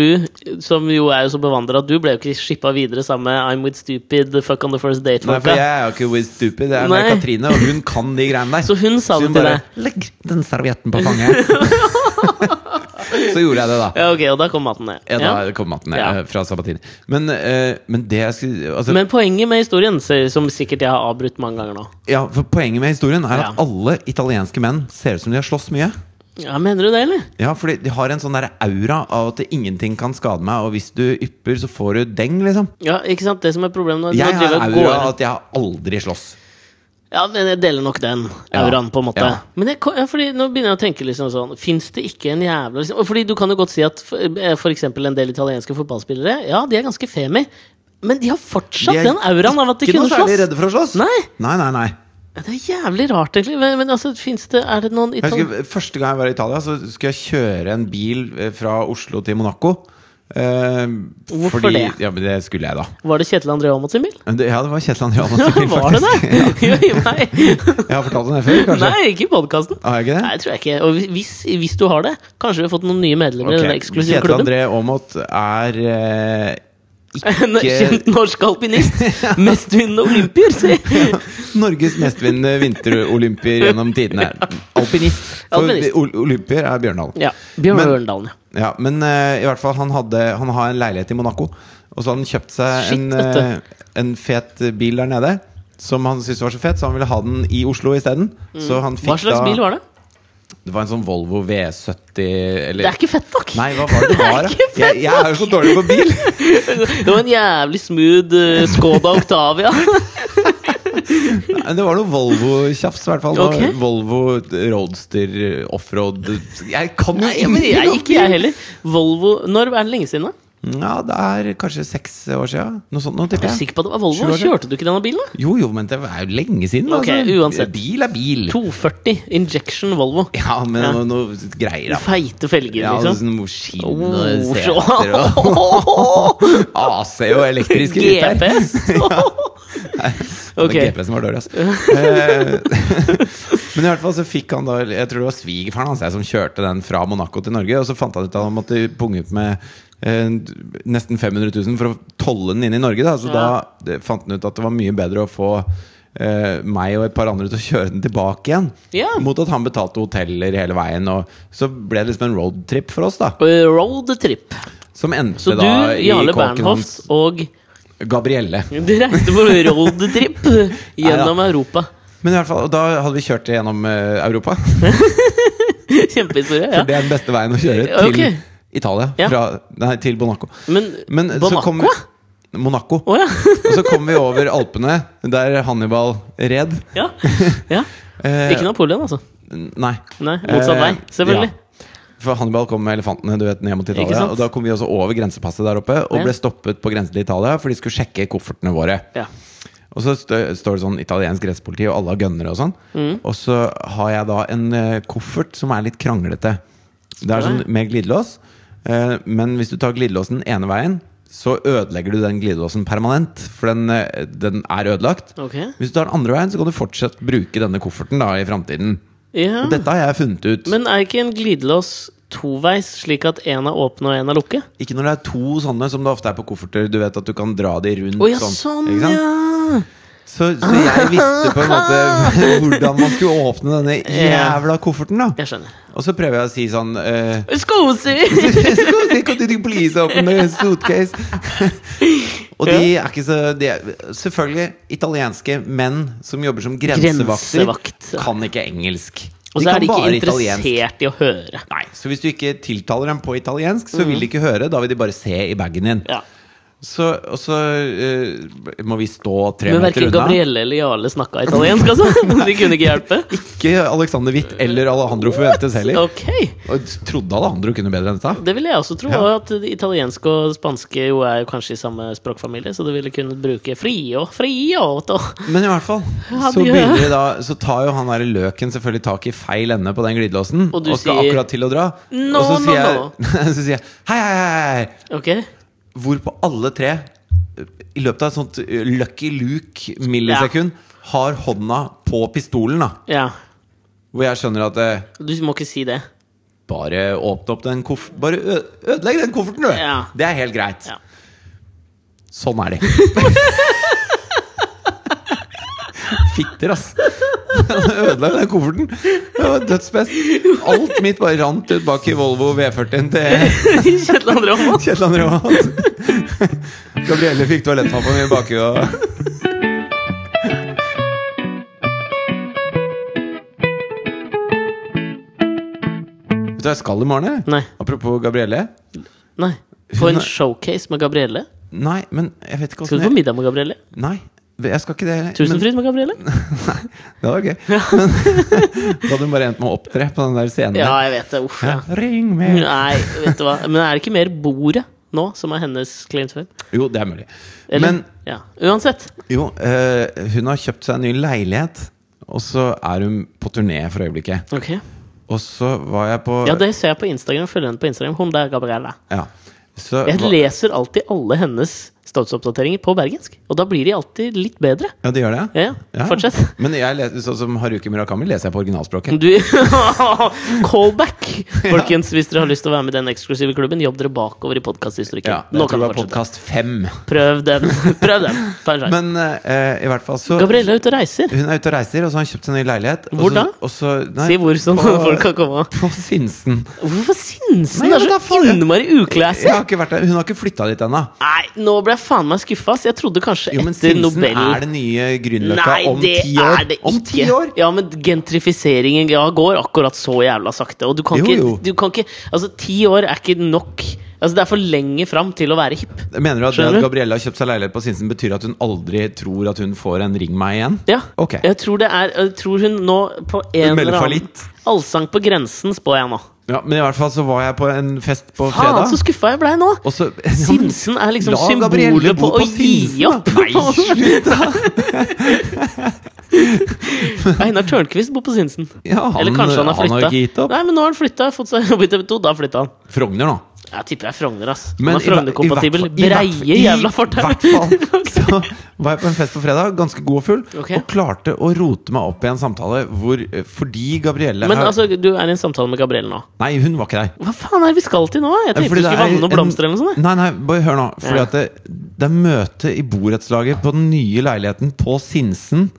S1: du, som jo er jo så bevandra, du ble jo ikke shippa videre sammen med I'm with stupid, fuck on the first
S2: Nei, for jeg
S1: date-folka.
S2: er jo ikke with stupid. Jeg er med
S1: Nei.
S2: Katrine, og hun kan de greiene der.
S1: Så hun sa det til
S2: bare,
S1: deg?
S2: Legg den servietten på fanget. så gjorde jeg det, da.
S1: Ja, ok, og da kom maten ned.
S2: Ja, da
S1: Ja.
S2: kom maten ned
S1: Ja.
S2: eh, fra Sabatini. Men, eh, men det jeg skulle altså,
S1: Men poenget med historien, så- som sikkert jeg har avbrutt mange ganger nå
S2: ja, for Poenget med historien er
S1: Ja.
S2: at alle italienske menn ser ut som de har slåss mye.
S1: Ja, Mener du det, eller?
S2: Ja, fordi De har en sånn der aura av at ingenting kan skade meg, og hvis du ypper, så får du deng, liksom.
S1: Ja, ikke sant? Det som er problemet nå, nå
S2: Jeg har
S1: driver jeg og
S2: aura
S1: går
S2: av at jeg har aldri slåss.
S1: Ja, men jeg deler nok den
S2: Ja,
S1: auraen, på en måte.
S2: ja.
S1: Men jeg, ko- ja, fordi nå begynner jeg å tenke liksom sånn Fins det ikke en jævla liksom, og Fordi du kan jo godt si at f- eh, for eksempel en del italienske fotballspillere Ja, de er ganske femi, men de har fortsatt
S2: De er
S1: den auraen av at de
S2: Ikke
S1: kunne
S2: noe særlig
S1: slåss.
S2: redde for å slåss.
S1: Nei.
S2: nei, nei, nei.
S1: Ja, Det er jævlig rart, egentlig. Men, men altså, fins det Er det noen
S2: Jeg
S1: italienere
S2: husker, første gang jeg var i Italia, så skulle jeg kjøre en bil eh, fra Oslo til Monaco. Eh,
S1: Hvorfor
S2: fordi,
S1: det?
S2: Ja, men det skulle jeg, da.
S1: Var det Kjetil André Aamodt sin bil?
S2: Men det- Ja, det var Kjetil André
S1: Ja,
S2: Andersen sin bil,
S1: var det det?
S2: faktisk.
S1: Jo, nei.
S2: Jeg har fortalt om det før, kanskje?
S1: nei, ikke i podkasten.
S2: Har jeg ikke det?
S1: Nei, tror jeg ikke. Og hvis, hvis du har det, kanskje vi har fått noen nye medlemmer i
S2: Ok.
S1: den eksklusive
S2: Kjetil
S1: klubben.
S2: André Aamodt er eh,
S1: En
S2: ikke
S1: kjent norsk alpinist. Mestvinnende olympier, si!
S2: Norges mestvinnende vinterolympier gjennom tidene. Alpinist. For
S1: Alpinist.
S2: ol- olympier er Bjørndalen.
S1: Ja, Bjørn
S2: Men-
S1: Ørendalen, ja.
S2: Ja, men eh, i hvert fall han, hadde, han har en leilighet i Monaco Og så hadde han kjøpt seg
S1: Shit,
S2: en,
S1: vet du.
S2: eh, en fet bil der nede Som han syntes var så fet Så han ville ha den i Oslo i stedet Så han fikk
S1: Mm. Hva slags
S2: da,
S1: bil var det?
S2: Det var en sånn Volvo V70 eller,
S1: Det er ikke fett nok!
S2: Nei, hva var det det var? da? jeg, jeg er jo så dårlig på bil
S1: Det var en jævlig smooth eh, Skoda Octavia.
S2: Nei, Det var noe Volvo-kjafs i hvert fall Det var
S1: Ok.
S2: Volvo Roadster Offroad Jeg kan jo
S1: Nei, men
S2: ingenting
S1: jeg,
S2: om
S1: ikke jeg heller. Volvo Når er det lenge siden, da?
S2: Ja, det er kanskje seks år siden Noe sånt, nå
S1: Jeg
S2: tipper
S1: er
S2: jeg
S1: sikker på at det var Volvo.
S2: Sju år siden.
S1: Kjørte du ikke denne bilen, da?
S2: Jo, jo, men det er jo lenge siden altså.
S1: Ok, uansett.
S2: Bil er bil
S1: 240 Injection Volvo.
S2: Ja, men
S1: Ja.
S2: noe, noe greier da
S1: Feite felger,
S2: ja,
S1: liksom.
S2: sånn skinn og
S1: Oh,
S2: seter og
S1: så-
S2: AC og elektrisk ryter.
S1: GPS!
S2: Det var
S1: Ok.
S2: GPS-en var dårlig, altså. Men i hvert fall så fikk han da Jeg tror det var svigerfaren hans jeg, som kjørte den fra Monaco til Norge. Og så fant han ut at han måtte punge ut med eh, nesten 500 000 for å tolle den inn i Norge. Da. Så
S1: Ja.
S2: da eh, fant han ut at det var mye bedre å få eh, meg og et par andre til å kjøre den tilbake igjen.
S1: Ja.
S2: Mot at han betalte hoteller hele veien. Og så ble det liksom en roadtrip for oss, da.
S1: Eh, Road trip.
S2: Som endte
S1: Så du,
S2: da i
S1: Jarle
S2: kåken hans
S1: Bernhoft og
S2: Gabrielle.
S1: De reiste på road trip gjennom Europa.
S2: Men i hvert fall, og da hadde vi kjørt gjennom eh, Europa.
S1: Kjempehistorie.
S2: For
S1: Ja. Eh,
S2: det er den beste veien å kjøre til
S1: Ok.
S2: Italia.
S1: Ja.
S2: Fra, nei, til Monaco.
S1: Men
S2: Men så
S1: Monaco?
S2: kom Monaco.
S1: Å ja.
S2: Og så kom vi over Alpene, der Hannibal red.
S1: ja. ja.
S2: Eh,
S1: Ikke Napoleon, altså.
S2: Nei.
S1: Nei, motsatt vei,
S2: Eh,
S1: selvfølgelig.
S2: ja. For Hannibal kom med elefantene du vet, ned mot
S1: Ikke
S2: Italia.
S1: sant?
S2: Og da kom vi også over grensepasset der oppe og
S1: Ja.
S2: ble stoppet på grensen til Italia, for de skulle sjekke koffertene våre.
S1: Ja.
S2: Og så stø, står det sånn italiensk grensepoliti, og alle har gønnere og sånn.
S1: Mm.
S2: Og så har jeg da en eh, koffert som er litt kranglete. Det er sånn med glidelås. Eh, men hvis du tar glidelåsen ene veien, så ødelegger du den glidelåsen permanent. For den, eh, den er ødelagt.
S1: Ok.
S2: Hvis du tar den andre veien, så kan du fortsatt bruke denne kofferten da i framtiden.
S1: Ja.
S2: Og dette har jeg funnet ut.
S1: Mm. Men er ikke en glidelås toveis, slik at én er åpen og én er lukket?
S2: Ikke når det er to sånne som det ofte er på kofferter. Du vet at du kan dra de rundt
S1: Å ja, sånn,
S2: ikke sant?
S1: ja!
S2: Så, så jeg visste på en måte hvordan man skulle åpne denne jævla kofferten. da
S1: Jeg skjønner.
S2: Og så prøver jeg å si sånn eh,
S1: Skosi!
S2: «Excuse, Could you please open the suitcase? Og de er ikke så de er, Selvfølgelig, italienske menn som jobber som grensevakter,
S1: Grensevakt, ja.
S2: kan ikke engelsk.
S1: Og
S2: De
S1: så er
S2: kan
S1: de ikke
S2: bare
S1: interessert
S2: italiensk.
S1: i å høre.
S2: Nei, så hvis du ikke tiltaler dem på italiensk, så vil de ikke høre. Da vil de bare se i bagen din.
S1: Mhm. Ja.
S2: Så, og så eh, må vi stå tre
S1: Men
S2: meter
S1: verken
S2: unna.
S1: Gabrielle eller Jarle snakka italiensk, altså! De kunne ikke hjelpe.
S2: Ikke Alexander Witt eller Alejandro Fuentes heller.
S1: Eh, Ok!
S2: Og trodde Alejandro kunne bedre enn dette.
S1: Det ville jeg også tro.
S2: Ja.
S1: Og at det italiensk og spanske jo er kanskje i samme språkfamilie, så du ville kunnet bruke frio, frio to-
S2: Men i hvert fall,
S1: Ja,
S2: så
S1: det gjør
S2: begynner
S1: jeg.
S2: vi da Så tar jo han der løken selvfølgelig tak i feil ende på den glidelåsen.
S1: Og
S2: Og,
S1: du
S2: skal
S1: sier,
S2: akkurat til å dra.
S1: «No,
S2: og så
S1: no,
S2: sier, jeg,
S1: no».
S2: så sier jeg hei, hei, hei, hei.
S1: Ok?
S2: Hvorpå alle tre, i løpet av et sånt eh, lucky luke millisekund, har hånda på pistolen. da
S1: Ja.
S2: Hvor jeg skjønner at eh,
S1: Du må ikke si det.
S2: bare åpne opp den koff... Bare ø- ødelegg den kofferten, du!
S1: Ja.
S2: Det er helt greit.
S1: Ja.
S2: Sånn er de. Fitter, ass. Ødela den kofferten. Det var dødsbest. Alt mitt bare rant ut bak i Volvo V40-en til
S1: Kjetil André Aamodt.
S2: Kjetil André Aas. Gabrielle fikk toalettmappa mi baki og Vet du hva jeg skal i morgen? jeg?
S1: Nei.
S2: Apropos Gabrielle.
S1: Nei. På
S2: Hun
S1: en
S2: er-
S1: showcase med Gabrielle?
S2: Nei, men jeg vet ikke
S1: Skal du på
S2: åssen jeg
S1: middag med Gabrielle?
S2: Nei, jeg skal ikke det. men-
S1: Tusenfryd med Gabrielle?
S2: Det var gøy. Men da hadde hun bare endt med å opptre på den der scenen.
S1: Ja, jeg vet det. Uff. Ja.
S2: Ring meg!
S1: Nei, vet du hva. Men er det ikke mer bordet nå som er hennes claim to fame?
S2: Jo, det er mulig.
S1: Eller?
S2: Men
S1: Ja. Uansett.
S2: jo, eh, hun har kjøpt seg en ny leilighet, og så er hun på turné for øyeblikket.
S1: Ok.
S2: Og så var jeg på
S1: Ja, det ser jeg på Instagram. Følger henne på Instagram. Hun der, Gabrielle.
S2: Ja. Så
S1: Jeg
S2: hva-
S1: leser alltid alle hennes statusoppdateringer på bergensk. Og da blir de alltid litt bedre.
S2: Ja, det gjør det?
S1: Ja, ja. Fortsett.
S2: Men jeg leser, sånn som Haruki Murakami leser jeg på originalspråket.
S1: Du, callback! Folkens, hvis dere har lyst til å være med i den eksklusive klubben, jobb dere bakover i podkasthistorikken.
S2: Ja,
S1: Nå kan
S2: jeg tror
S1: du
S2: det var
S1: fortsette.
S2: podkast fem.
S1: Prøv den. Prøv den. Ta en sjanse.
S2: Men eh, i hvert fall så
S1: Gabrielle er ute og reiser.
S2: Hun er ute og reiser, og så har hun kjøpt seg en ny leilighet. og
S1: Hvor
S2: så-
S1: da?
S2: Og så, nei,
S1: Si hvor sånn
S2: på-
S1: folk kan komme.
S2: På Sinsen.
S1: Hvorfor sinsen?
S2: Nei,
S1: Det
S2: jeg vet
S1: er
S2: da
S1: så
S2: faen, jeg-
S1: innmari
S2: Jeg
S1: uklæssig!
S2: har ikke vært der, Hun har ikke flytta dit ennå.
S1: Nei, nå ble jeg faen meg skuffa. Jeg trodde kanskje
S2: Jo, men
S1: etter
S2: Sinsen
S1: Nobel
S2: er det nye Grünerløkka
S1: Nei,
S2: om
S1: det
S2: ti år.
S1: er det
S2: om ti
S1: ikke.
S2: år!
S1: Ja, men gentrifiseringen ja, går akkurat så jævla sakte. Og du kan,
S2: Jo,
S1: ikke,
S2: jo.
S1: du kan ikke Altså, ti år er ikke nok. Altså, Det er for lenge fram til å være hipp.
S2: Mener du at det
S1: Skjønner
S2: at
S1: du?
S2: Gabrielle har kjøpt seg leilighet på Sinsen, betyr at hun aldri tror at hun får en Ring meg igjen?
S1: Ja.
S2: Ok.
S1: Jeg tror det er Jeg tror hun nå på en
S2: melder
S1: eller annen
S2: fallitt.
S1: Allsang på grensen, spår jeg nå.
S2: Ja, men i hvert fall så var jeg på en fest på
S1: Faen, så
S2: fredag.
S1: skuffa jeg blei nå!
S2: Og så
S1: Sinsen er liksom
S2: La Gabrielle
S1: symbolet på,
S2: bo på
S1: å gi
S2: Sinsen,
S1: opp!
S2: da. Nei, slutt,
S1: Einar Tørnquist bor på Sinsen.
S2: ja, han,
S1: Eller kanskje han har
S2: Han har
S1: flytta.
S2: ikke gitt opp.
S1: Nei, men nå har han flytta. Fått seg jobb i TV 2. Da flytta han.
S2: Frogner, nå.
S1: Jeg tipper det er Frogner, ass. Han er
S2: Men i hver-
S1: Frogner-kompatibel.
S2: i hvert- i hvert-
S1: Breie
S2: i
S1: jævla fortau!
S2: hvert fall så var jeg på en fest på fredag, ganske god og full,
S1: Ok.
S2: og klarte å rote meg opp i en samtale hvor eh, Fordi Gabrielle
S1: Men
S2: har-
S1: altså, du er i en samtale med Gabrielle nå.
S2: Nei, hun var ikke der.
S1: Hva faen er det vi skal til nå? Jeg tenkte
S2: Fordi
S1: du skulle
S2: det er
S1: vanne noen
S2: en-
S1: blomster eller noe sånt. jeg.
S2: Nei, nei, bare hør nå. Fordi
S1: Ja.
S2: at det, det er møte i borettslaget på den nye leiligheten på Sinsen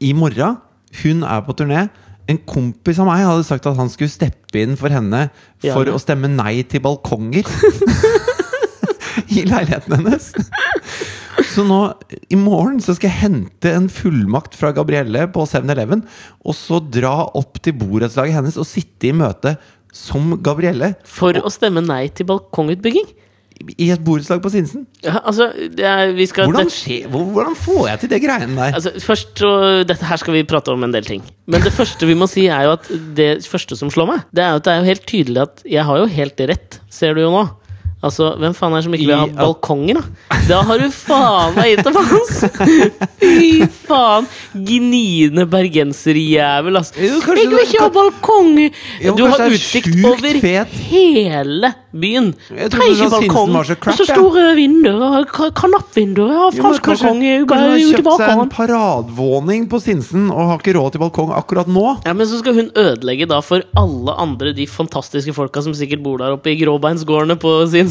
S2: i morgen. Hun er på turné. En kompis av meg hadde sagt at han skulle steppe inn for henne
S1: Ja,
S2: for
S1: ja.
S2: å stemme nei til balkonger. I leiligheten hennes. Så nå, i morgen så skal jeg hente en fullmakt fra Gabrielle på 7-Eleven, og så dra opp til borettslaget hennes og sitte i møte som Gabrielle
S1: For å stemme nei til balkongutbygging?
S2: i et borettslag på Sinsen.
S1: Ja, altså, det er, vi skal
S2: Hvordan,
S1: det-
S2: skje, hvor- hvordan får jeg til det greiene der?
S1: Altså, først, så- Dette her skal vi prate om en del ting. Men det første vi må si, er jo at det første som slår meg, det er jo at det er jo helt tydelig at jeg har jo helt rett, ser du jo nå. Altså, Hvem faen er det som ikke vil ha
S2: I at-
S1: balkonger, da? Da har du faen meg gitt opp, ass! Fy faen! Gniende bergenserjævel, ass.
S2: Jo,
S1: Jeg
S2: kanskje
S1: vil
S2: det-
S1: ikke ha balkong!
S2: Jo,
S1: Du har
S2: kanskje det er
S1: utsikt
S2: sjukt
S1: over
S2: fet.
S1: hele byen.
S2: Jeg trodde
S1: Trenger ikke
S2: du sa Sinsen
S1: balkong.
S2: var så crap,
S1: Og så
S2: jeg.
S1: store vinduer, og ka- kanappvinduer. Jeg har
S2: Jo, men
S1: fransk balkong i-
S2: kanskje
S1: bare ute i
S2: hun har kjøpt seg en
S1: bakgården.
S2: paradvåning på Sinsen og har ikke råd til balkong akkurat nå.
S1: Ja, Men så skal hun ødelegge da for alle andre de fantastiske folka som sikkert bor der oppe i gråbeinsgårdene på Sinsen,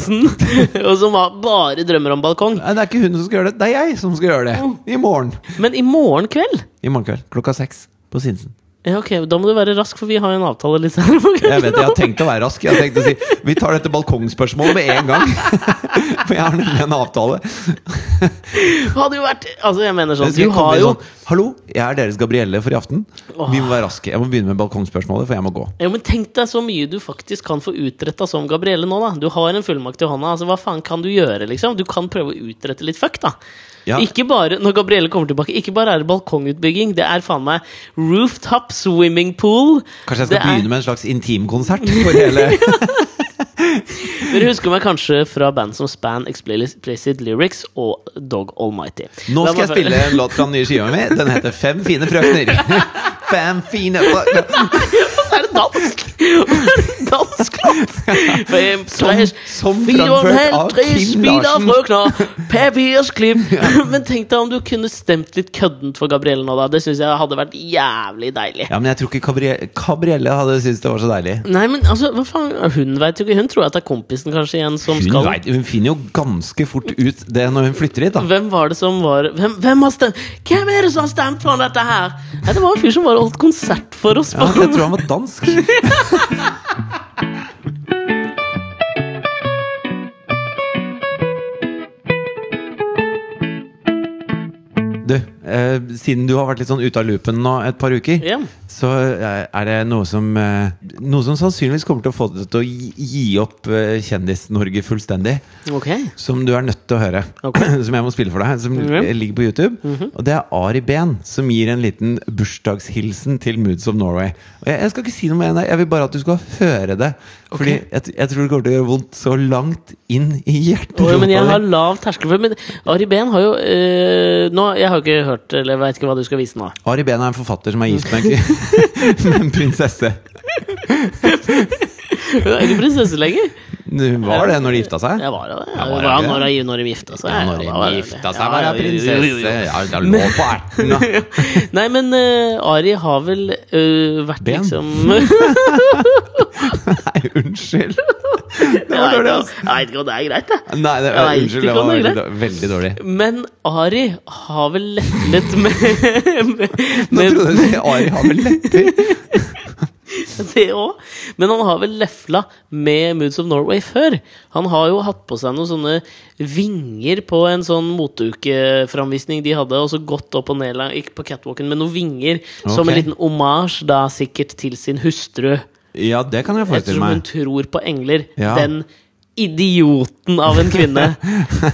S1: og som har- bare drømmer om balkong.
S2: Nei, det er ikke hun som skal gjøre det, det er jeg som skal gjøre
S1: Mm.
S2: det. I morgen.
S1: Men i morgen kveld
S2: I morgen kveld klokka seks på Sinsen.
S1: ja, ok, Da må du være rask, for vi har jo en avtale litt senere. på
S2: Jeg vet,
S1: kvelden.
S2: jeg har tenkt å være rask. Jeg har tenkt å si Vi tar dette balkongspørsmålet med en gang. For jeg har nemlig en avtale.
S1: Hadde jo vært Altså, jeg mener
S2: Jeg
S1: sånn,
S2: skal
S1: du
S2: komme
S1: har
S2: inn
S1: jo
S2: sånn, Hallo, jeg er deres Gabrielle for i aften. Vi må være raske. Jeg må begynne med balkongspørsmålet, for jeg må gå.
S1: Jo, men Tenk deg så mye du faktisk kan få utretta som Gabrielle nå, da. Du har en fullmakt i hånda. altså Hva faen kan du gjøre, liksom? Du kan prøve å utrette litt fuck, da.
S2: Ja.
S1: Ikke bare, når Gabrielle kommer tilbake, ikke bare er det balkongutbygging, det er faen meg rooftop swimming pool.
S2: Kanskje jeg skal begynne med en slags intimkonsert for hele
S1: Dere husker meg kanskje fra band som Span Explicit Lyrics og Dog Almighty.
S2: Nå
S1: La
S2: skal jeg
S1: meg-
S2: spille en låt fra den nye skiva mi. Den heter Fem fine frøkner. Fem fine frøkner
S1: Så er det dansk! Så er det dansk låt! Fem,
S2: Som-
S1: tres,
S2: som
S1: fire og en
S2: framført
S1: halv,
S2: av
S1: tre
S2: Kim
S1: fire
S2: Larsen.
S1: frøkner, papirsklipp. Men tenk deg om du kunne stemt litt køddent for Gabrielle nå, da. Det syns jeg hadde vært jævlig deilig.
S2: Ja, men jeg tror ikke Gabrielle, Gabrielle hadde syntes det var så deilig.
S1: Nei, men altså, hva faen? Hun vet jo ikke. Hun tror at det er kompisen kanskje igjen som
S2: Hun,
S1: skal
S2: vet, hun finner jo ganske fort ut det når hun flytter hit, da.
S1: Hvem var det som var Hvem, hvem har stemt Hvem er det som har stemt for dette her? Nei, det var en fyr som bare holdt konsert for oss.
S2: Ja, jeg tror han var dansk. Du, eh, siden du har vært litt sånn ute av loopen nå et par uker,
S1: Ja.
S2: så eh, er det noe som eh, Noe som sannsynligvis kommer til å få deg til å gi, gi opp eh, Kjendis-Norge fullstendig.
S1: Ok.
S2: Som du er nødt til å høre.
S1: Ok.
S2: Som jeg må spille for deg. Som
S1: Mhm.
S2: ligger på YouTube. Og det er Ari Behn som gir en liten bursdagshilsen til Moods of Norway. Og jeg, jeg skal ikke si noe mer enn det. Jeg vil bare at du skal høre det. Fordi jeg, t- jeg tror det kommer til å gjøre vondt så langt inn i hjertet.
S1: Oi, men jeg har
S2: Ronald.
S1: lav terskel for Men Ari Behn har jo øh, nå, Jeg har jo ikke hørt Eller jeg vet ikke hva du skal vise nå.
S2: Ari Behn er en forfatter som er gift med en, med en prinsesse.
S1: Hun er ikke prinsesse lenger.
S2: Hun var det når de gifta seg.
S1: Jeg var jo det.
S2: Ja,
S1: Jeg var,
S2: var jeg det?
S1: når jeg- når de gifta seg.
S2: Ja, når
S1: da var
S2: de
S1: jeg
S2: gifta
S1: det.
S2: seg, var
S1: Ja, ja,
S2: hun
S1: jo, jo, jo.
S2: prinsesse. Ja, jeg lå på erten, da.
S1: Nei, men øh, Ari har vel øh, vært
S2: Behn?
S1: liksom
S2: Nei, unnskyld. Det
S1: Jeg
S2: var dårlig,
S1: vet
S2: altså.
S1: ikke- jeg vet ikke om det er greit, jeg.
S2: Nei, det,
S1: Jeg vet ikke
S2: unnskyld. Det
S1: om
S2: var
S1: det er
S2: veldig, dår- veldig dårlig.
S1: Men Ari har vel lett med, med,
S2: Nå
S1: med
S2: trodde jeg Ari har vel lepper.
S1: det òg. Men han har vel lefla med Moods of Norway før. Han har jo hatt på seg noen sånne vinger på en sånn moteukeframvisning de hadde, og så gått opp og ned lang- ikke på catwalken med noen vinger, som en
S2: Ok.
S1: liten omasj da sikkert til sin hustru.
S2: Ja, det kan jeg forestille
S1: Ettersom hun
S2: meg.
S1: tror på engler.
S2: Ja.
S1: Den idioten av en kvinne.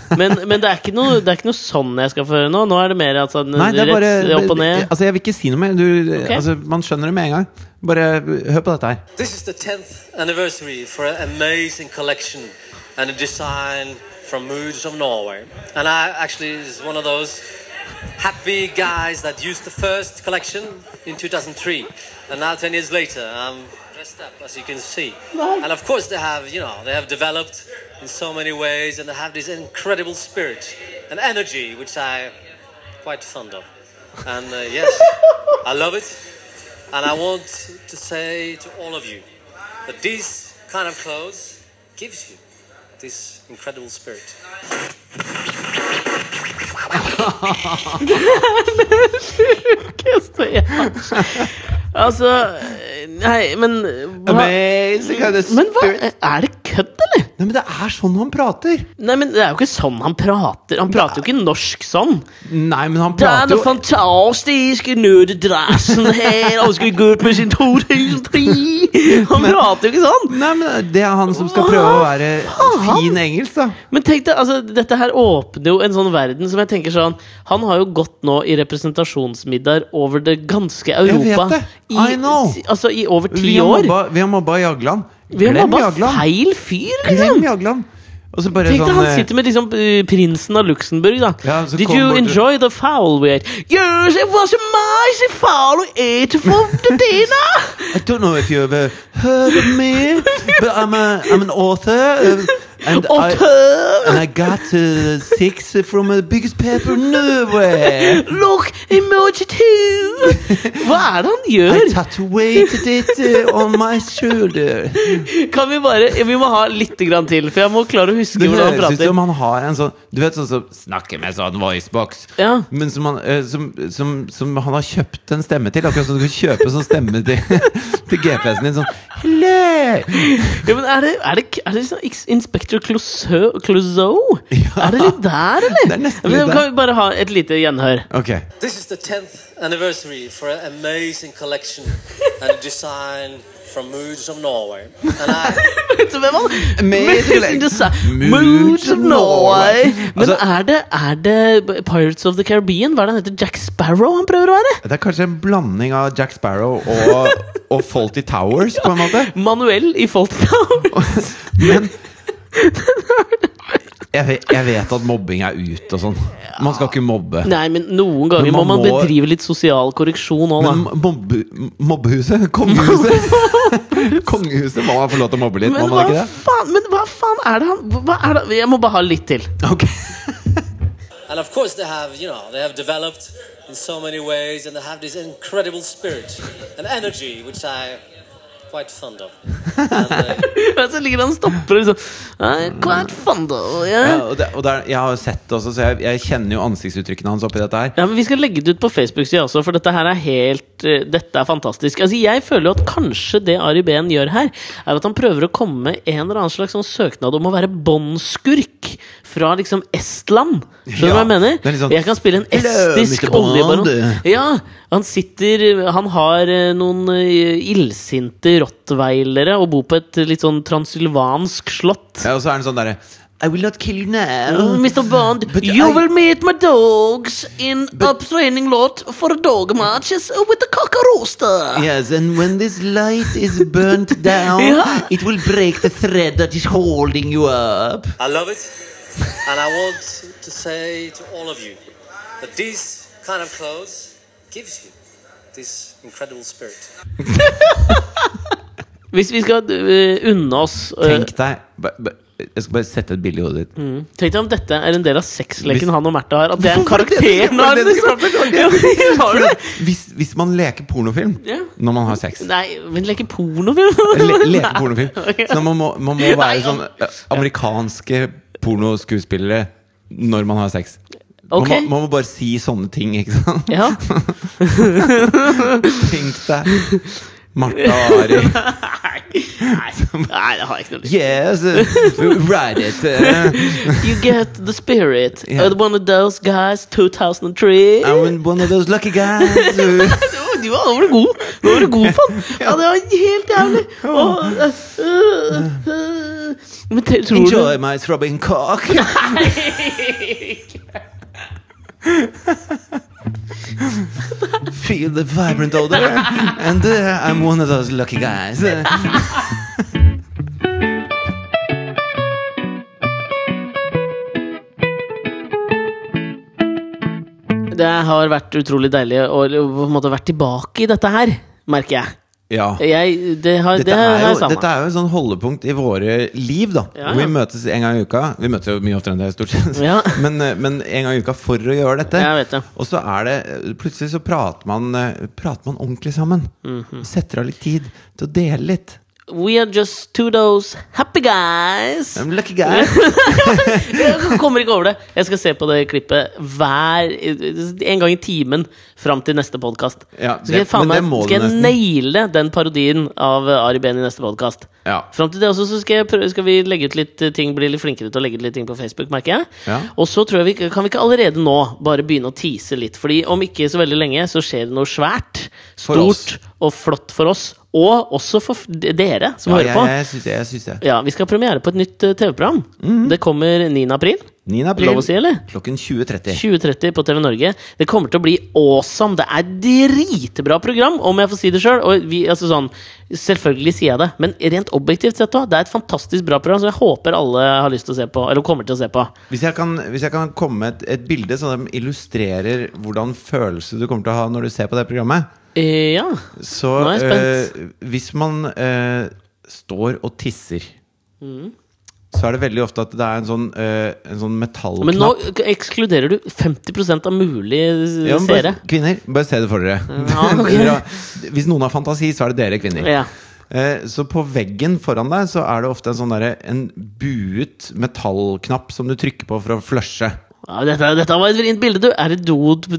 S1: men men det, er ikke noe, det er ikke noe sånn jeg skal få høre nå. Nå er det mer at sånn,
S2: Nei, det er bare
S1: rett opp og ned.
S2: Altså, jeg vil ikke si noe mer. Du, altså, man skjønner det med en gang. Bare eh, hør på dette her.
S3: This is the 10th anniversary for an amazing collection and a design from Moods of Norway. And I actually is one of those happy guys that used the first collection in 2003. And now 10 years later, I'm after step, as you can see. And of course, they have, you know, they have developed in so many ways, and they have this incredible spirit and energy, which I quite fond of. And uh, yes, I love it. And I want to say to all of you that these kind of clothes gives you this incredible spirit.
S1: Kjøst, ja. Altså Nei, men hva,
S2: Amazing kind of
S1: Men hva
S2: spirit.
S1: Er det kødd, eller?
S2: Nei, men det er sånn han prater!
S1: Nei, men Det er jo ikke sånn han prater. Han prater jo ikke norsk sånn.
S2: Nei, men han
S1: Det er
S2: prater
S1: den
S2: jo
S1: fantastiske nødedressen her, og skal gå ut med sin 2003 Han prater jo ikke sånn!
S2: Nei, men det er han som skal prøve å være
S1: Hva faen?
S2: fin engelsk, da.
S1: Men tenk deg, altså, dette her åpner jo en sånn verden som jeg tenker sånn Han har jo gått nå i representasjonmiddager over det ganske
S2: vet
S1: Europa.
S2: det. I know.
S1: Altså i over ti
S2: Vi har
S1: år.
S2: mobba- Vi har mobba Jagland.
S1: Vi har
S2: Glem
S1: mobba
S2: Jagland!
S1: feil fyr, liksom!
S2: Glem Jagland! Og så bare
S1: Tenk deg,
S2: sånn
S1: han
S2: eh,
S1: sitter med liksom eh, prinsen av Luxembourg, da.
S2: Ja, så
S1: Did
S2: kom
S1: you
S2: bort-
S1: enjoy the foul wear? Yes, it was a nice foul we ate for the dinner!
S2: I don't know if you ever heard of me, but I'm a I'm an author, um, and I
S1: Otter!
S2: and I got uh, six from the biggest paper in Norway.
S1: Look, emoji two! Hva er det han
S2: I
S1: gjør?
S2: tattooed it uh, on my shoulder.
S1: Kan vi bare Vi må ha litt grann til, for jeg må klare å huske
S2: Det
S1: hvordan han
S2: høres ut
S1: prater.
S2: som han har en sånn Du vet sånn som snakker med sånn voicebox,
S1: Ja.
S2: men som han, eh, som, som, som han har kjøpt en stemme til. Akkurat som du kan kjøpe sånn stemme til, til GPS-en din. Sånn Hello!
S1: Ja, men er det, er det, er det liksom Ins- Inspector Clouseau? Clouseau? Er det litt der, eller?
S2: Det er nesten
S1: Men
S2: litt
S1: Kan
S2: der.
S1: vi bare ha et lite gjenhør?
S2: Ok.
S3: This is the 10th anniversary for an amazing collection and design from Moods of Norway. And I,
S1: Vet du hvem han
S2: Amazing.
S1: Moods of Norway. Men
S2: Altså-
S1: er det, er det Pirates of the Caribbean? Hva er det han heter? Jack Sparrow han prøver å være?
S2: Det er kanskje en blanding av Jack Sparrow og, og Faulty Towers, på en måte.
S1: Manuel i Folktown.
S2: Men jeg, ve- jeg vet at mobbing er ut og sånn. Man skal ikke mobbe.
S1: Nei, men noen ganger
S2: Men man
S1: må man
S2: må-
S1: bedrive litt sosial korreksjon òg, da.
S2: Men mobbe, mobbehuset? Kongehuset? Kongehuset må man få lov til å mobbe litt, må
S1: Men
S2: man
S1: hva
S2: ikke det?
S1: faen, men hva faen er det han hva er det? Jeg må bare ha litt til.
S2: Ok.
S3: and of course, they have, you know, they have developed in so many ways and they have this incredible spirit and energy, which I quite fond of. And, uh,
S1: Men så ligger han og stopper og liksom Quite fun, though.
S2: Ja,
S1: Yeah.
S2: og det, og det er, jeg har jo sett det også, så jeg, jeg kjenner jo ansiktsuttrykkene hans oppi dette her.
S1: Ja, men Vi skal legge det ut på Facebook-sida også, for dette her er helt eh, Dette er fantastisk. Altså, Jeg føler jo at kanskje det Ari Behn gjør her, er at han prøver å komme med en eller annen slags sånn søknad om å være båndskurk fra liksom Estland. Skjønner du
S2: Ja,
S1: hva jeg mener?
S2: det er litt sånn,
S1: jeg kan spille en
S2: «Hello,
S1: estisk
S2: Mr. Bond».
S1: oljebaron. Ja, han sitter Han har eh, noen eh, illsinte rottweilere og bor på et litt sånn transylvansk slott.
S2: Ja, og så er han sånn derre I will not kill you
S1: Uh,
S2: now.
S1: Mr. Bond,
S2: But
S1: you
S2: I-
S1: will meet my dogs in a training lot for dog matches with the cockroaster.
S2: Yes, and when this light is burnt down,
S1: Ja.
S2: it will break the thread that is holding you up.
S3: I love it, and I want to say to all of you that these kind of clothes gives you this incredible spirit.
S1: Hvis vi skal eh, unne oss eh,
S2: Tenk deg ba- ba- Jeg skal bare sette et bilde i hodet ditt.
S1: Tenk deg om dette er en del av sexleken
S2: Hvis-
S1: han og Märtha har. At det er en
S2: Hvorfor var det
S1: karakter.
S2: det som-
S1: nå
S2: var
S1: er
S2: det
S1: det
S2: det som-
S1: liksom- Ja, men har du det?
S2: Hvis, hvis man leker pornofilm
S1: Ja.
S2: når man har sex
S1: Nei, men leker pornofilm?
S2: Le, Leker
S1: Nei.
S2: pornofilm.
S1: Ok.
S2: Så man må, man må være sånn eh, amerikanske pornoskuespillere når man har sex.
S1: Ok.
S2: Man, må, man må bare si sånne ting, ikke sant?
S1: Ja.
S2: Tenk deg Martha og
S1: Nei.
S2: Ari.
S1: Nei. Nei, det har jeg ikke noe lyst til.
S2: Yes, uh, ride it. Uh,
S1: You get the spirit.
S2: Ja.
S1: Yeah. One of those guys, 2003.
S2: I'm one of those lucky guys. Uh,
S1: Du- Du var, nå var du god! Nå var du god, faen! Ja, det var helt jævlig! Åh, øh, øh, øh. Men te- tror
S2: Enjoy
S1: du
S2: my throbbing cock. Feel the vibrant odor. And uh, I'm one of those lucky guys. Uh,
S1: Det har vært utrolig deilig å å på en måte vært tilbake i dette her, merker jeg.
S2: Ja.
S1: Jeg, det har,
S2: Dette
S1: det har
S2: er,
S1: jeg
S2: jo,
S1: savna.
S2: dette er jo en sånn holdepunkt i våre liv, da.
S1: Ja, ja.
S2: Hvor Vi møtes en gang i uka. Vi møtes jo mye oftere enn det, stort sett.
S1: Ja.
S2: Men, eh, men en gang i uka for å gjøre dette.
S1: Jeg vet det.
S2: Og så er det eh, Plutselig så prater man, eh, prater man ordentlig sammen.
S1: Mhm.
S2: Setter av litt tid til å dele litt.
S1: We are just two those happy guys.
S2: I'm lucky guy.
S1: Jeg kommer ikke over det. Jeg skal se på det klippet hver En gang i timen fram til neste podkast.
S2: Ja,
S1: skal jeg,
S2: det-
S1: faen
S2: men det
S1: meg-
S2: må du
S1: skal jeg
S2: nesten.
S1: naile den parodien av eh, Ari Behn i neste podkast.
S2: Ja.
S1: Fram til det også så skal, jeg prøve, skal vi legge ut litt eh, ting bli litt flinkere til å legge ut litt ting på Facebook, merker jeg.
S2: Ja.
S1: Og så tror jeg vi, kan vi ikke allerede nå bare begynne å tease litt. Fordi om ikke så veldig lenge så skjer det noe svært,
S2: For oss.
S1: stort og flott for oss. Og også for f- d- dere som
S2: Ja,
S1: hører på.
S2: jeg, jeg syns det. Jeg syns det.
S1: Ja, Vi skal ha premiere på et nytt eh, TV-program.
S2: Mhm.
S1: Det kommer 9. april.
S2: 9.
S1: Lov
S2: april
S1: å si, eller?
S2: klokken 20.30.
S1: 2030 på TV Norge. Det kommer til å bli awesome! Det er dritbra program, om jeg får si det sjøl. Og vi, altså sånn, selvfølgelig sier jeg det, men rent objektivt sett òg. Det er et fantastisk bra program som jeg håper alle har lyst til å se på. Eller kommer til å se på.
S2: Hvis jeg kan, hvis jeg kan komme med et, et bilde som illustrerer hvordan følelse du kommer til å ha når du ser på det programmet,
S1: Eh, ja.
S2: Så
S1: Nå er jeg spent.
S2: eh, hvis man eh, står og tisser, så er det veldig ofte at det er en sånn, eh, en sånn metallknapp
S1: Men nå ekskluderer du 50 av mulige
S2: Ja, men bare,
S1: seere.
S2: Kvinner, bare se det for dere.
S1: Ja, ok.
S2: Dere har- hvis noen har fantasi, så er det dere kvinner.
S1: Ja.
S2: Eh, Så på veggen foran deg så er det ofte en sånn derre- en buet metallknapp som du trykker på for å flushe.
S1: Ja, dette, dette var et vrient bilde, du. Er, det do,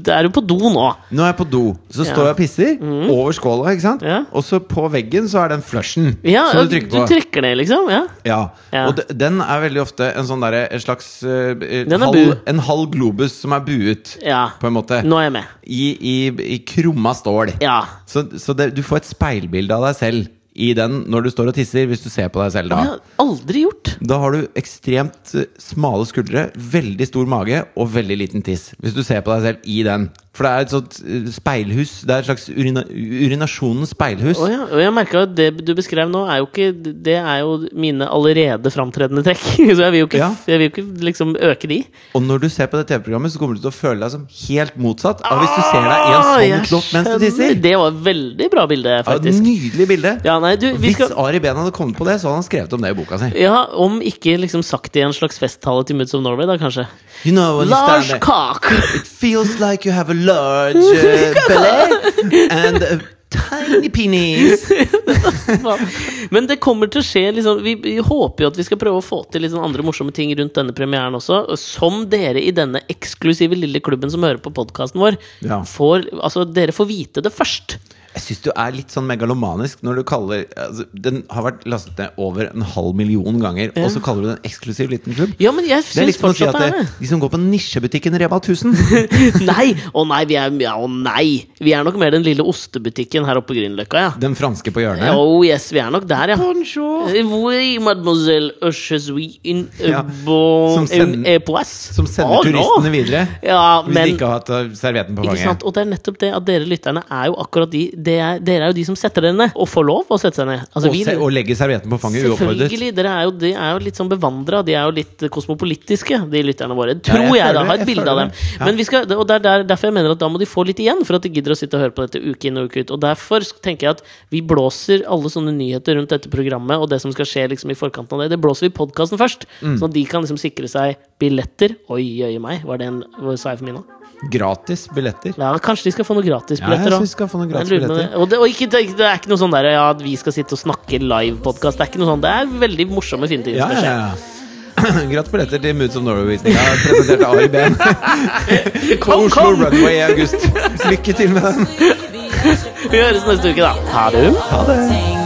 S1: er du på do nå?
S2: Nå er jeg på do, så
S1: Ja. Mm.
S2: står jeg og pisser over skåla, ikke sant?
S1: Ja.
S2: Og så på veggen så er den flushen
S1: Ja,
S2: som du trykker på.
S1: Du trykker ned, liksom? Ja.
S2: Ja,
S1: Ja.
S2: og de, den er veldig ofte en sånn derre en slags eh, eh,
S1: Den er
S2: halv,
S1: bu.
S2: En halv globus som er buet,
S1: Ja.
S2: på en måte.
S1: Nå er jeg med.
S2: I, i, I krumma stål.
S1: Ja.
S2: Så, så det, du får et speilbilde av deg selv i den når du står og tisser, hvis du ser på deg selv
S1: Det
S2: da.
S1: har jeg aldri gjort.
S2: Da har du ekstremt eh, smale skuldre, veldig stor mage og veldig liten tiss. Hvis du ser på deg selv i den. For det er et sånt eh, speilhus. Det er et slags urina, urinasjonens speilhus.
S1: Å ja, og jeg merket at det du beskrev nå, er jo ikke Det er jo mine allerede framtredende trekk. Så jeg vil jo ikke,
S2: Ja.
S1: jeg vil jo ikke liksom øke de.
S2: Og når du ser på det TV-programmet, så kommer du til å føle deg som helt motsatt av hvis du ser deg i en sånn knopp mens du tisser.
S1: Ah, Det var et veldig bra bilde,
S2: Ja,
S1: faktisk.
S2: nydelig bilde.
S1: Ja, nei, du, vi
S2: Hvis
S1: skal
S2: Ari Behn hadde kommet på det, så hadde han skrevet om det i boka si.
S1: ja, Om ikke liksom sagt i en slags festtale til Moods of Norway, da kanskje.
S2: You know, when you
S1: Lars
S2: stand there,
S1: Kak!
S2: it feels like you have a large uh, belly and a tiny penis.
S1: Men det kommer til å skje liksom, vi, vi håper jo at vi skal prøve å få til litt sånn andre morsomme ting rundt denne premieren også. og Som dere i denne eksklusive lille klubben som hører på podkasten vår,
S2: Ja.
S1: får Altså, dere får vite det først.
S2: Jeg syns du er litt sånn megalomanisk når du kaller altså, Den har vært lastet ned over en halv million ganger, og så kaller du det en eksklusiv liten klubb?
S1: Ja, men jeg
S2: Det er
S1: syns
S2: litt som å si
S1: fortsatt
S2: at
S1: det
S2: det,
S1: er
S2: de som går på nisjebutikken Rema 1000
S1: det. Nei! Å nei, vi er, ja, å nei! Vi er nok mer den lille ostebutikken her oppe på Grünerløkka, ja.
S2: Den franske på hjørnet?
S1: Oh yes, vi er nok der, ja.
S2: Bonjour.
S1: Oui, mademoiselle, je suis une
S2: Ja,
S1: bon euh,
S2: som sender-
S1: une époisse.
S2: Som sender
S1: Å, Ah, nå.
S2: turistene videre.
S1: Ja,
S2: Hvis de
S1: men
S2: ikke har hatt uh, servietten på
S1: ikke sant?
S2: fanget.
S1: Og det er nettopp det at dere lytterne er jo akkurat de det er, Dere er jo de som setter dere ned, og får lov å sette seg ned. Altså,
S2: Og,
S1: vi-
S2: se, og legge servietten på fanget uoppfordret.
S1: Selvfølgelig. Dere er jo, de er jo litt sånn bevandra. De er jo litt kosmopolitiske, de lytterne våre.
S2: Ja,
S1: Tror
S2: jeg
S1: jeg, da.
S2: føler det,
S1: Har et
S2: jeg
S1: bilde
S2: føler
S1: av dem.
S2: det. Ja.
S1: Men vi skal, og det er der, derfor jeg mener at da må de få litt igjen for at de gidder å sitte og høre på dette uke inn og uke ut. Og derfor tenker jeg at vi blåser alle sånne nyheter rundt dette programmet og det som skal skje liksom i forkanten av det, det blåser vi i podkasten først.
S2: Mm.
S1: Sånn at de kan liksom sikre seg billetter. Oi, jøye meg, var det en hva sa jeg for mine?
S2: Gratis billetter.
S1: Ja, kanskje de skal få noen
S2: Ja, jeg
S1: gratisbilletter
S2: synes
S1: òg.
S2: vi skal få noen
S1: Jeg lurer på det.
S2: gratisbilletter.
S1: Og, det, og ikke, det, det er ikke noe sånn der ja, at vi skal sitte og snakke live-podkast. Det er ikke noe sånn, det er veldig morsomme, fine ting
S2: Ja,
S1: som skal
S2: ja,
S1: skje.
S2: ja. Gratis billetter til Moods of Norway-visninga presentert av Ari Behn på
S1: Kom,
S2: Oslo
S1: kom!
S2: Runway i august. Lykke til med den.
S1: Vi høres neste uke, da. Ha det.
S2: Ha det.
S4: Take